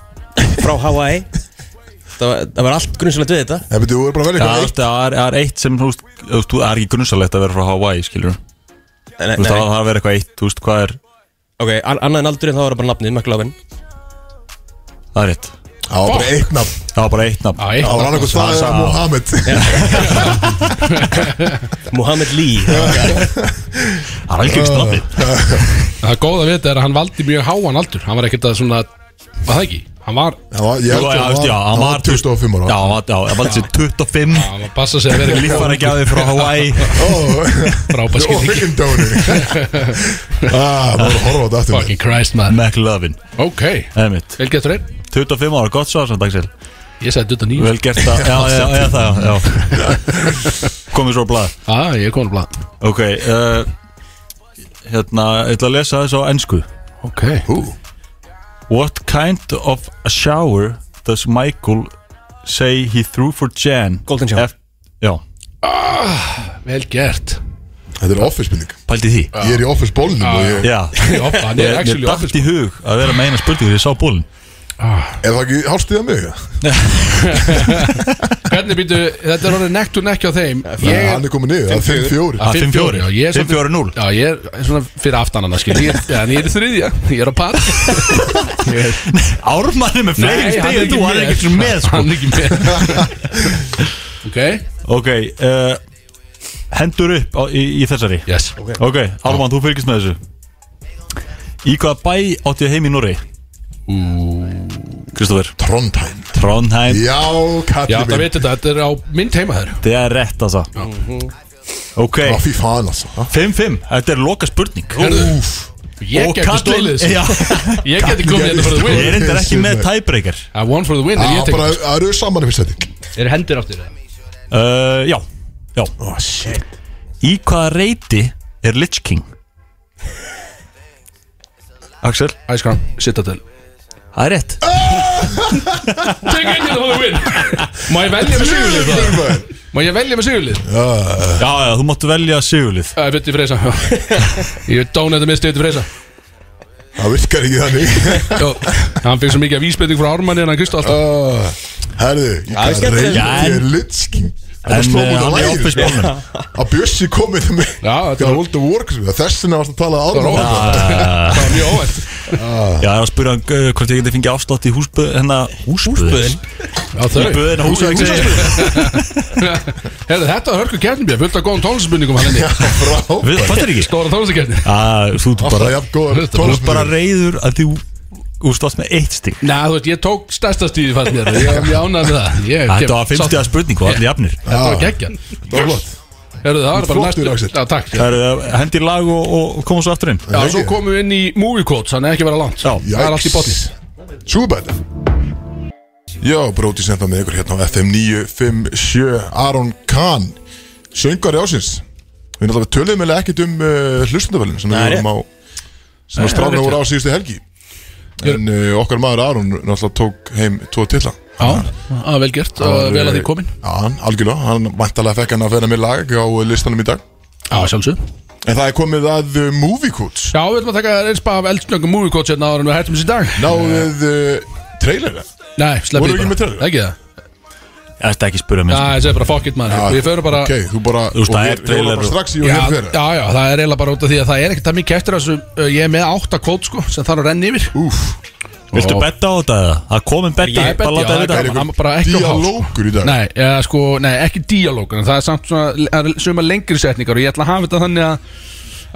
<laughs> frá Hawaii Það var, það var allt grunnsalend við þetta Það betur, þú er bara að velja Já, þú eitthvað veist, það er, það er eitt sem, þú veist, þú veist, það er ekki grunnsalegt að vera frá Hawaii, skilur Þú Nei, veist, það nei, það er að vera eitthvað eitt, þú veist, hvað er, ok, an- annað en aldurinn þá var það bara nafnið McLovin það er rétt eitt Það var bara eitt nafn Það var bara eitt nafn eitt Það var nafn. annarkvort það eða Mohammed. Mohamed Lee Það er algjör strafni Það er góð að vita er að hann valdi mjög háan aldur Hann var ekkert að svona Var það ekki? Hann var Hann var, ég held að hann var- hann var 25 ára Já, hann var- já, hann valdi sér 25 Já, hann passa sig að vera ekki- Líffæra frá Hawaii <laughs> Frábær skýring. Og freaking dónu <laughs> Ah, maður að horfa á þetta aftur Fucking Christ man McLovin Ok Einmitt Vel gert fyrir 25 ára, gott svar samt Axel Ég sagði 29 Vel gert að, já, já, já, það, já Komið svo á blað Já, Ah, ég er komin á blað Ok, uh, hérna, ég ætla að lesa þessu á ennsku Ok What kind of a shower does Michael say he threw for Jan Golden shower Já, Vel gert Þetta er office spurning pældi því Ég er í office bólnum og ég <laughs> Já, hann er Mér- actually mér datt í hug að vera með eina spurningu þegar ég sá bólin Er það ekki hálfstíða mig? Hvernig býtu Þetta er orðið nekt og nekki á þeim Ég Hann er komið niður, það er 5-4 Að 5-4 já, ég er svolítið- 5-4-0. Já, ég er svona fyrir aftan hann skil Ég er, ja, en ég er í þriðja, ég er á par Ármann er með fleiri stig en þú, hann er ekki einu sinni með, sko. Hann er ekki með <laughs> Ok Ok, uh, hendur upp á, í, í þessari Yes Ok, Ármann, þú fylgist með þessu Í hvaða bæ áttu heim í Norri? Kristoffer Trondheim Trondheim Já, kallið Já, það veitir þetta, þetta er á mynd heima þér Það er rétt að það Ok Já, fí fan altså 5-5, þetta er loka spurning Úf Ég Og gæti kallinn- stólið þessu. <laughs> Já. Ég gæti komið hérna for the win. Ég er reyndar ekki með tiebreaker I won for the win, en Já, ég tek bara, þetta. það eru saman í fyrst þetta Eru hendur áttur það? uh, Já, já Oh shit Í hvaða reyti er Lich King? Axel Æskram, Citadel Það er rétt Take it in for the win Má ég velja með sigurlið það? Má ég velja með sigurlið? Já, já, þú máttu velja sigurlið Það er fyrir freysa Ég er dónættu með stöðu freysa Það virkar ekki þannig Jó, hann fikk svo mikið að vísbending frá Ármanni hérna, en hann kristu alltaf uh, Herðu, ég Já, kann skemmtilegt. reyndi Já, en- ég litski Það En, er eh, slóðbúin hann að er í læri office-bólnum. <laughs> Að Bjössi komið með mig Já, þetta var World of Warcraft Þess vegna varst að tala Það var áður <laughs> óvænt. Já. Það var mjög óvænt Já, ég var að spyrja hann uh, hvort ég geti fengið afslátt í húsböð hennar húsböðin Já, þau Húsböðin og húsböðin Herðu, þetta var hörku kjarnum björn Fullt af góðum tónlistabundningum hann inni Við fattar ekki Stóra tónlistakjarni Já, þú ert Alltaf bara jafn góður Þú ert bara reyður að þú Þú stóðst með eitt stík Næ, þú veist, ég tók stærsta stíði fannst mér Ég var mjög ánægð með það Ég- Þetta var 50 sátt- spurning og allir jafnir Þetta var geggja Það var flott Herðu, það var bara Flottur, Axel. næstu Já, takk Það er hendir lag og, og komum svo aftur inn Já, svo komum við inn í movie quotes Þannig ekki vera langt Það er allt í botni Súbæl Já, bróti senda með ykkur hérna á FM 957 Aron Kahn Söngari ásins Við náttúrulega töluðum eða ekkert um uh, hlustundavælun sem Nei, við vorum á sem að strána voru á síðustu helgi en uh, okkar maður Aron náttúrulega tók heim tvo tilla Já, það er vel gert Og vel að því komin Já, hann, algjörlega, hann vantalega fekk hann að vera með lag á listanum í dag Já, sjálfsög En það er komið að uh, Movie Quotes Já, við ætlum að taka eins bara af eldsnöggum movie quotes Hérna áður en við hættum þessi dag Náðuð uh, trailera Nei, sleppið Voru ekki með trailer? Ekki það Það er ekki spyrja Já, mér það er bara fuck it man Við förum bara Ok, þú bara Þú veist, og það hér- er hér trailer var bara og- strax í og Já, hér fyrir já, já, það er eiginlega bara út af því að það er ekkert það mikið eftir þessu uh, Ég er með átta kvót sko sem þarf að renna yfir Úf, Viltu betta á þetta eða? Það komin betta Ég er Bara beti, láta já, þetta það er hann bara ekki á hás, sko. Dialógur í dag Nei, eða, sko, nei, ekki díalóg en það er samt svona, það er suma lengri setningar og ég ætla að hafa þetta þannig að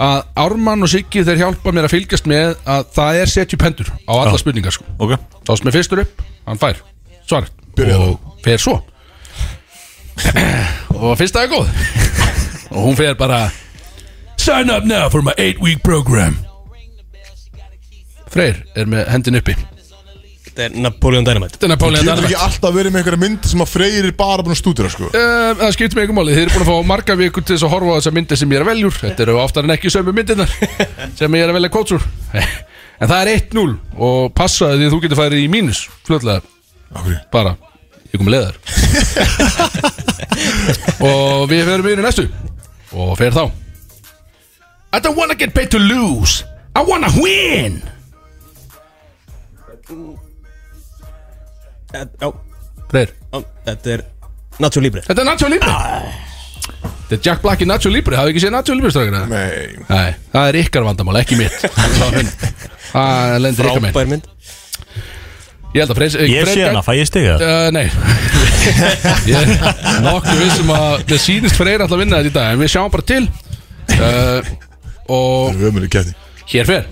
að Ármann og Siggi þeir hjálpa mér að fylgjast með að það er setju pendur á alla spurningar sko Ok Þá sem er fyrstur upp, hann fær svarið Byrjaðu. og fer svo <clears throat> og fyrsta er góð og hún fer bara Sign up now for my 8 week program Freyr er með hendin uppi Þetta Þetta er Napoleon Dynamite er Napoleon Getur ekki Dynamite alltaf verið með einhverja mynd sem að freyri bara búin að stúdira sko Um, Það skiptir mig ekki máli, þið eru búin að fá marga vikur til þess að horfa á þessa myndi sem ég er að veljur Þetta eru oftar en ekki sömu myndirnar sem ég er að velja kótsur <laughs> En það er 1-0 og passaði því að þú getur farið í mínus fljótlega Akkur bara ég kom leðar og við ferum yfir í næstu og fer þá I don't wanna get paid to lose I wanna win Eh, Já, Freyr, já, þetta er Nacho Libre þetta er Nacho Libre Þetta er Jack Black í Nacho Libre hafið ekki séð Nacho Libre strákina Nei Nei, það <laughs> er ykkar vandamál, ekki mitt Það lendir ykkar minn Frábær mynd Ég held að Freyr Ég Freyr- sé hana, fæ ég stig eða? Uh, nei <laughs> Ég er nokkuð vissum að Það sýnist Freyr alltaf að vinna þetta í dag En við sjáum bara til uh, Og Hér fer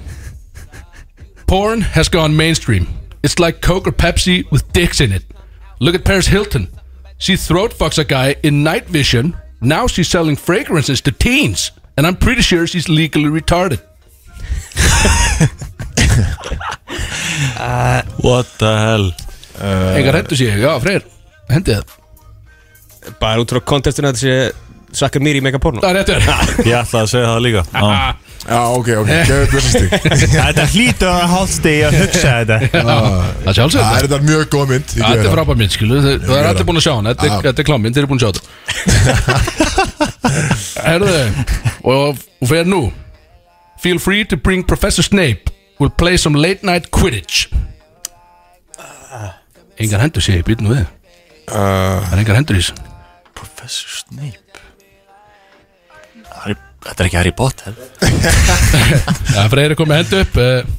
Porn has gone mainstream It's like Coke or Pepsi with dicks in it Look at Paris Hilton She throat fucks a guy in night vision Now she's selling fragrances to teens And I'm pretty sure she's legally retarded What the hell Engar hættu séu, já Freyr Hendi það Bara út frá kontestinu að þessi Svakar mýri í megaporno Það er réttur Ég ætlaði að segja það líka Já, Já, ok, ok, Eh. gefðu upp <laughs> þessi stig Þetta hlýtur að hálfsti að hugsa þetta Það sjálfsögðu. Það er þetta mjög góð mynd ég Þetta geri er það. frábær mynd, skilu Þau- Það er gera allir það. búin að sjá hana Þetta er- Já. þetta er klámynd, þeir eru búin að sjá <laughs> þetta Herðu Og og fer nú Feel free to bring Professor Snape We'll play some late night quidditch Engar hendur sé ég býtum við Uh. Það er engar hendur í þessu Professor Snape Harry, Þetta er ekki Harry Potter Það er freyri komið hendur upp eh,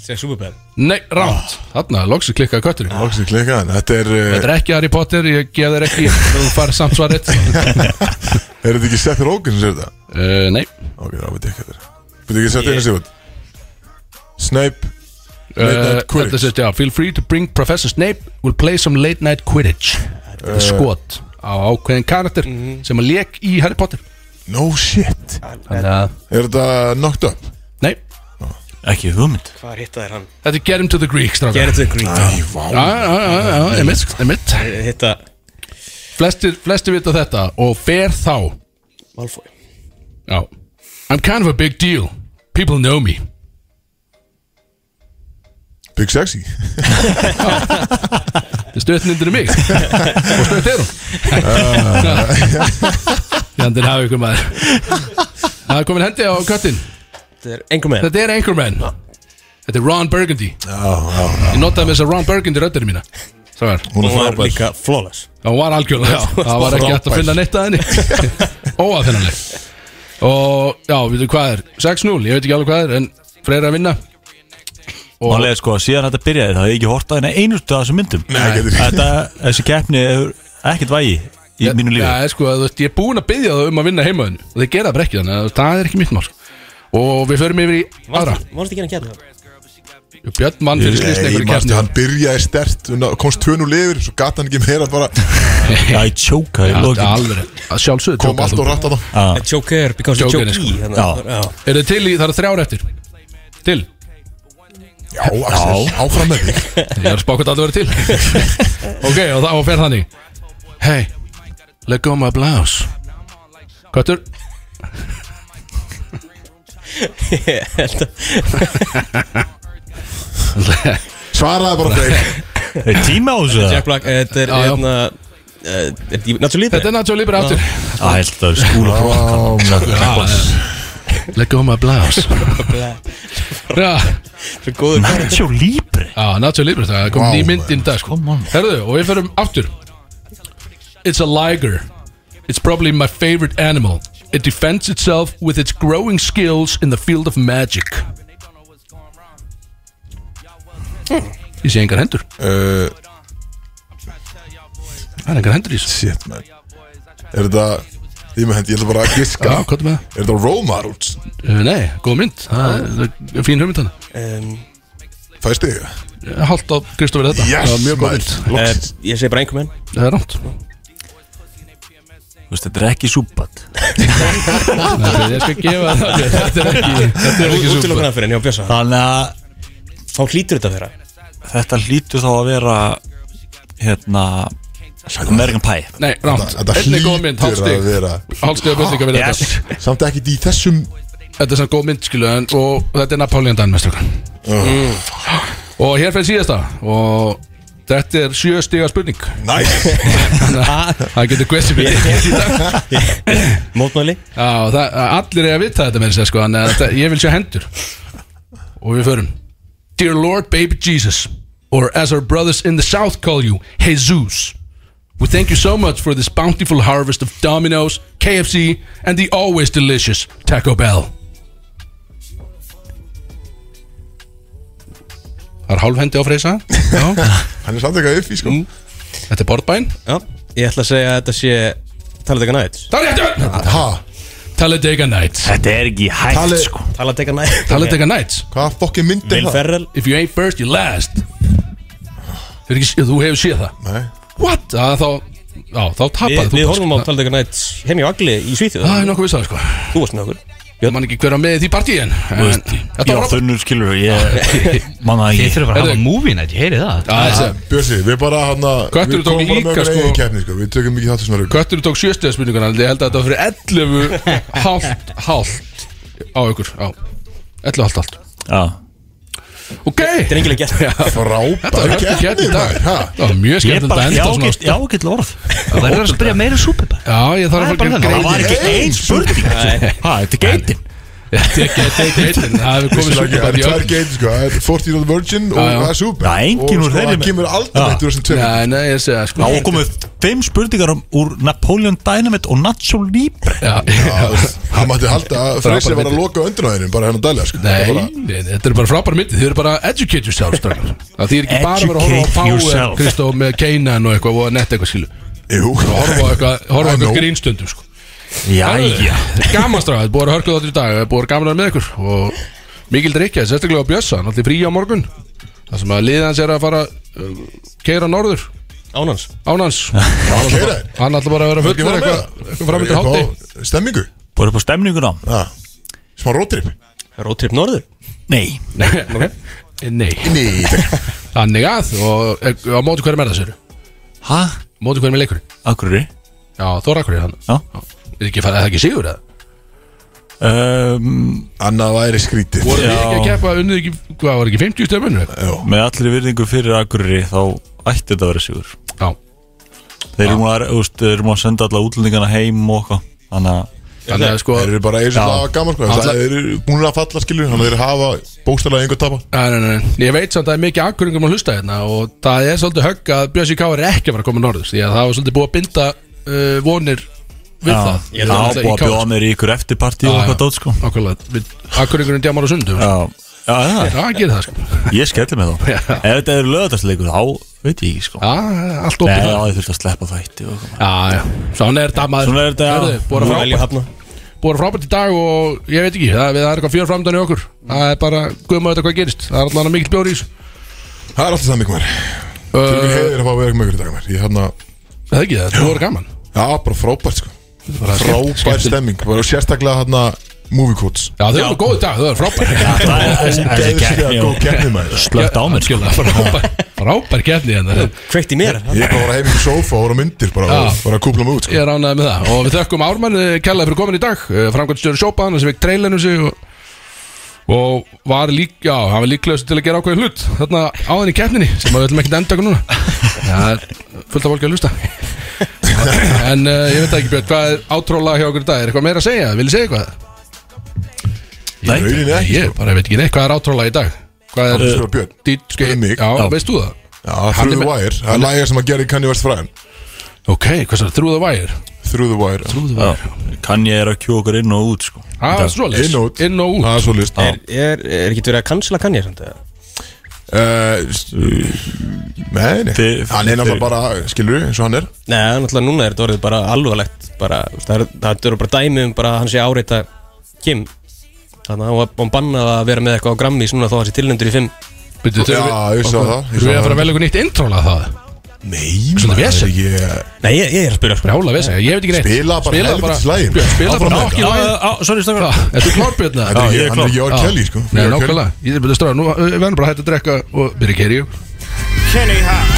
Þetta er superbad Nei, rámt Þarna, loksu klikkaði kötturinn Loksu klikkaði, þetta er eh, Þetta er ekki Harry Potter, ég gef þér ekki Þú far samt <laughs> svarið Er þetta ekki Seth Rogen sem segir þetta? Uh, nei Ok, það veit ég ekki þetta Búið ekki að setja einu sig út Snape Late Uh, Night Þetta Quidditch sett, já, feel free to bring Professor Snape We'll play some late night Quidditch Þetta Eh. er skot á ákveðin karakter Mhm. sem að leik í Harry Potter No shit Þannig að Er þetta knocked up? Nei Ekki hugmynd Hvað hitta þér hann? Þetta er Get him to the Greek strákar. Get him to the Greek. Já, Æ, vá. já, já, já, já, einmitt, einmitt Hitta Flestir, flestir vita þetta og fer þá Malfoy Já I'm kind of a big deal People know me Big Sexy Þetta er stöðnindur í <laughs> mig Og stöðt er Ah. hún Jandinn hafi ykkur maður Það er komin hendi á köttin Þetta er Anchorman Þetta er Anchorman Þetta er Ron Burgundy Ég notaði með þess að Ron Burgundy röddurinn mína Svo er Hún er Hún var frábær. líka flawless. Það var algjörlega, já Það var ekki hægt að Frábær. finna neitt að henni Óafinnanleg Og já, við veitum hvað er 6-0, ég veit ekki alveg hvað er En Freyr er að vinna Og- Málega sko, síðan þetta byrjaði þá hef ég ekki hort á hérna einustu af þessum myndum Nei, getur ekki. Þetta, þessi keppni hefur ekkert vægi í mínu lífi Já, sko, þú veist, ég er búinn að byggja þau um að vinna heimaðin Og þeir gera það bara ekki, þannig að það er ekki mitt mál Og við förum yfir í aðra Mást ekki hérna hérna Jú, Björn mann fyrir Nei, slýsni einhverju manstu, kjarni hann byrjaði stert komst tvönu lifir, svo gata hann ekki meira bara Já, ég tjóka í lokin. Að sjálfsögðu Kom allt og rætt að það Ah. Joker Because you Joker, joke sko. í þannig að- Já Er þið til í, það eru þrjár eftir Til Já, Axel, áfram með þig Ég er að spá hvað það verið til <laughs> Ok, og þá fer þannig Hey, let go my blouse Köttur Ég held að Svaraði bara þeir Er tíma á þessu Jack það? Black eh, Þetta er Já, já. hérna eh, er ekki Nacho Libre Þetta er Nacho Libre aftur Það held að skúla Já, brokkan Let go my <laughs> blouse Já, Svo góður Nacho Libre já Nacho Libre, það kom Vá, ný mynd inn í dag sko. Come on Herðu, og við ferum aftur It's a liger It's probably my favorite animal It defends itself with its growing skills in the field of magic Hmm. Ég sé engar hendur <laughs> Uh, Það er engar hendur í þessu Shit, man Er þetta, ég með hendi, ég ætla bara að giska Já, hvað er með það? Er þetta Role Models? Uh, Nei, góð mynd, það er- það er fín hugmynd hann Um, Fæst þig? Hálft á Kristofur þetta Yes, Það var mjög góð maður. mynd eh, Loksins. Ég segi bara Anchorman Það er rámt Þú veist, Þetta er ekki súpat Ég skal gefa það Ah. <laughs> Þetta er ekki, þetta er ekki Útlokkan súpa að fyrir en ég á Bjössa Þannig að Þá hlýtur þetta að vera þetta hlýtur þá að vera Hérna American Pie Nei, rámt, Þetta einnig góð mynd, hlýtur að hálfstig vera Hálfstig að byrninga við þetta Samt ekki í þessum Þetta er svona góð mynd skilu en, og þetta er Napoleon Dan mestur Uh-huh. Og hér fyrir síðasta og þetta er sjö stiga spurning Næs <laughs> Það getur hversi fyrir Já, Mótmæli það, Allir er að vita þetta með þess að segja, sko en þetta, ég vil sjá hendur og við förum Dear Lord baby Jesus or as our brothers in the south call you Jesus We thank you so much for this bountiful harvest of Domino's, KFC and the always delicious Taco Bell Það er hálfhendi á freysa Hann er samt eitthvað upp í sko Mm. Þetta er borðbæn Já, ég ætla að segja að þetta sé Talladega Nights Talladega Nights Þetta er ekki hægt, Tali- sko. Talladega Nights Talladega Nights Hvaða fokkin myndi Will Ferrell. If you ain't first, you last Þú, er ekki, þú hefur séð það Nei What? Að þá, á, þá tapaði þú Við, við bara, horfum á sko. Talladega Nights heim í Agli í Svíþjóð Það er nokkuð vissað sko Þú varst með okkur Ég man ekki hver að með í því partíi en Þú veist, Þetta já, var þunnur skilur Ég <laughs> manna ekki Þið þurfum bara að hafa Heyrðu, movie night, ég heyri það Ah, Björsi, við bara hann að Köttur Við komum tók bara með líka, okkar sko. eigin keppni sko Við tökum ekki þátt í svona rugl Köttur tók sjöstegðarspurninguna Ég held að þetta var fyrir 11 Hálft Hálft Á ykkur á. 11 hálft hálft Já Ok Þetta er engilega gert Þetta var Frábær ekki gert í dag ha? Það var mjög skemmt að enda svona Já, ágætt orð Það verður að spyrja meira súpi bara Já, ég þarf að fara að Það er bara gera þannig. Það var greiði. ekki ein spurning. Nei. Ha, þetta er geitin Þetta er geitin, þetta er geitin Það hefur komið Vissulega ekki, Það súper er tvær geit sko Það er 14 old virgin og Já, já. það er super Já, engin Og, úr sko, þeirri Það með- kemur Já. aldrei eftir þessum tveim Nei, nei, ég segja sko Ná komið fimm spurningar um- úr Napoleon Dynamite og Nacho Libre Já, Það mætti halda að Frábær Freysi var að myndi. loka öndunæðinu bara hennar dæla sko Þetta er bara- Nei, nei, þetta er bara frábær myndi Þið eru bara educate yourself strákar. Það þýðir ekki bara að vera að Educate horfa á Power yourself. Kristó með Keynan og eitthvað og netta eitthvað skilu Jú Horfa á eitthvað, <laughs> horfa I know. á eitthvað grínstundum sko. Jæja Gaman stráð, þetta er búið að hörkuð áttur í dag Það er búið að gaman að vera með ykkur og Mikil drikja, sérstaklega á Bjössa, hann er allir frí á morgun Það sem að liðans er að fara uh, Keira norður Ánans Ánans <laughs> Hann keyra þér. Hann ætla bara að vera Það er ekki fullur bara eitthvað meira. eitthvað fram eftir Upp á hátti Stemmingu Búið upp á stemninguna Já. Smá rótrip Rótrip norður Nei Eh, Nei Nei <laughs> Þannig að, og e, á móti hverjum er það sér? Hæ? Móti hverjum er leikur? Akureyri Já, Þóra Akureyri hann Já Er ekki, er það ekki sigur eða? um, Annað væri skrítið Voru þið ekki að Já. keppa unnið ekki, hvað var ekki, 50 stömmun? Með allir virðingu fyrir Akureyri þá ætti þetta að vera sigur Já Þeir eru múin að, þú veist, þeir eru múin að senda alla útlendingana heim og eitthvað Þannig að Þannig að sko Þeir eru bara eins og Já. það var gaman sko Alla- Það eru búin að falla skilur Þannig að þeir hafa bóstalega einhver tapa Nei, nei, nei, nei. Ég veit samt að það er mikið akkuringum að hlusta hérna og það er svolítið högg að Björn K. er ekki að fara að koma norðust því að það var svolítið búið að binda uh, vonir við Já, það já, búið að bjóða mér í ykkur eftirparti og eitthvað dót sko Akkurlega, akkuringurinn djámar og sundu Já, já, Já, já, það gerir það sko ég skellir mig þá Já. Ef þetta er lögðarsleikur, þá veit ég ekki sko Já, allt Nei, opið já, það ég þurfti að sleppa þætti og eitthvað Já, já, svona er þetta maður Svona er þetta, já. Herðu, Búið að Nú vel ég frábært hafna Búið að frábært í dag og ég veit ekki Það, það er eitthvað fjör framdæni okkur Það er bara, guðum að þetta hvað gerist Það er allan að mikill bjór í þessu Það er alltaf samvík mér Til Uh, mér heiðir að fá að vera með ykkur í dag mér Ég hérna- hann að Það er ekki það, þú voru gaman Já, bara frábært sko bara Frábær skemmtilegt. stemming Bara sérstaklega hann að Movie quotes Já, þau voru góð í dag, þau voru frábært <laughs> Ógeðslega góð keppni maður Slögt á mér sko Skilja, frábær, frábær keppni hérna Kveikt í mér Ég er bara að vera heim í sófa og voru myndir bara Já. og bara að kúpla mig út Ég sko er ánægði með það og við þökkum Ármann kærlega fyrir komin í dag framkvæmstjóri sjópa hann sem vekk trailinu sig og, og var lík já, hann var líklegast til að gera ákveðin hlut þarna á þenni keppninni sem við ætlum ekki að enda okkur núna það er fullt af fólki að hlusta en uh, ég veit það ekki Björn hvað er átróla hjá okkur í dag er eitthvað meira að segja vil ég segja eitthvað Í rauninni ekki, sko. ég bara veit ekki neitt hvað er átróla í dag hvað er Það er björn dít, sko, Fyrir mig. já, veist þú það Já, Through the með- Wire Það er lægir sem að gera í Kanye West fræðan ok, hvað er það þrúða vægir Through the Wire Through Já, kann ég er að kjó okkur inn og út sko Ah, svoleiðis. Inn og út. inn og út Það er svo list Er, er, er ekki verið að cancela kann ég samt eða? Eh, Nei, nei Þið- Hann er þið- náttúrulega bara, skilur eins og hann er Nei, náttúrulega núna er þetta orðið bara alvarlegt bara, þú veist, það, er, það eru bara dæmi um bara að hann sé áreita Kim þannig að hann var hann bannað að vera með eitthvað á Grammys núna þó að hann sé tilnendur í fimm Byrju, Já, ég sá það, ég sá Þú er að það. fara að velja ykkur nýtt intróla það Nei, Svona maður, vesen. ég Nei, ég, ég er að spyrja sko Brjála við segja, ég veit ekki neitt Spila bara Spila helvitis lagið. Björn, Spila Áfram bara með ekki Já, lagið já, sorry, stakar Ertu klárbjörn Þetta er það? Já, ekki, ég er hann er klár. ekki orð Kelly, sko Nei, Ég er Kelly. nákvæmlega Ég er byrjuð að strafa, nú eh, við verðum bara að hætta að drekka og byrja að kerja Kenny Hawk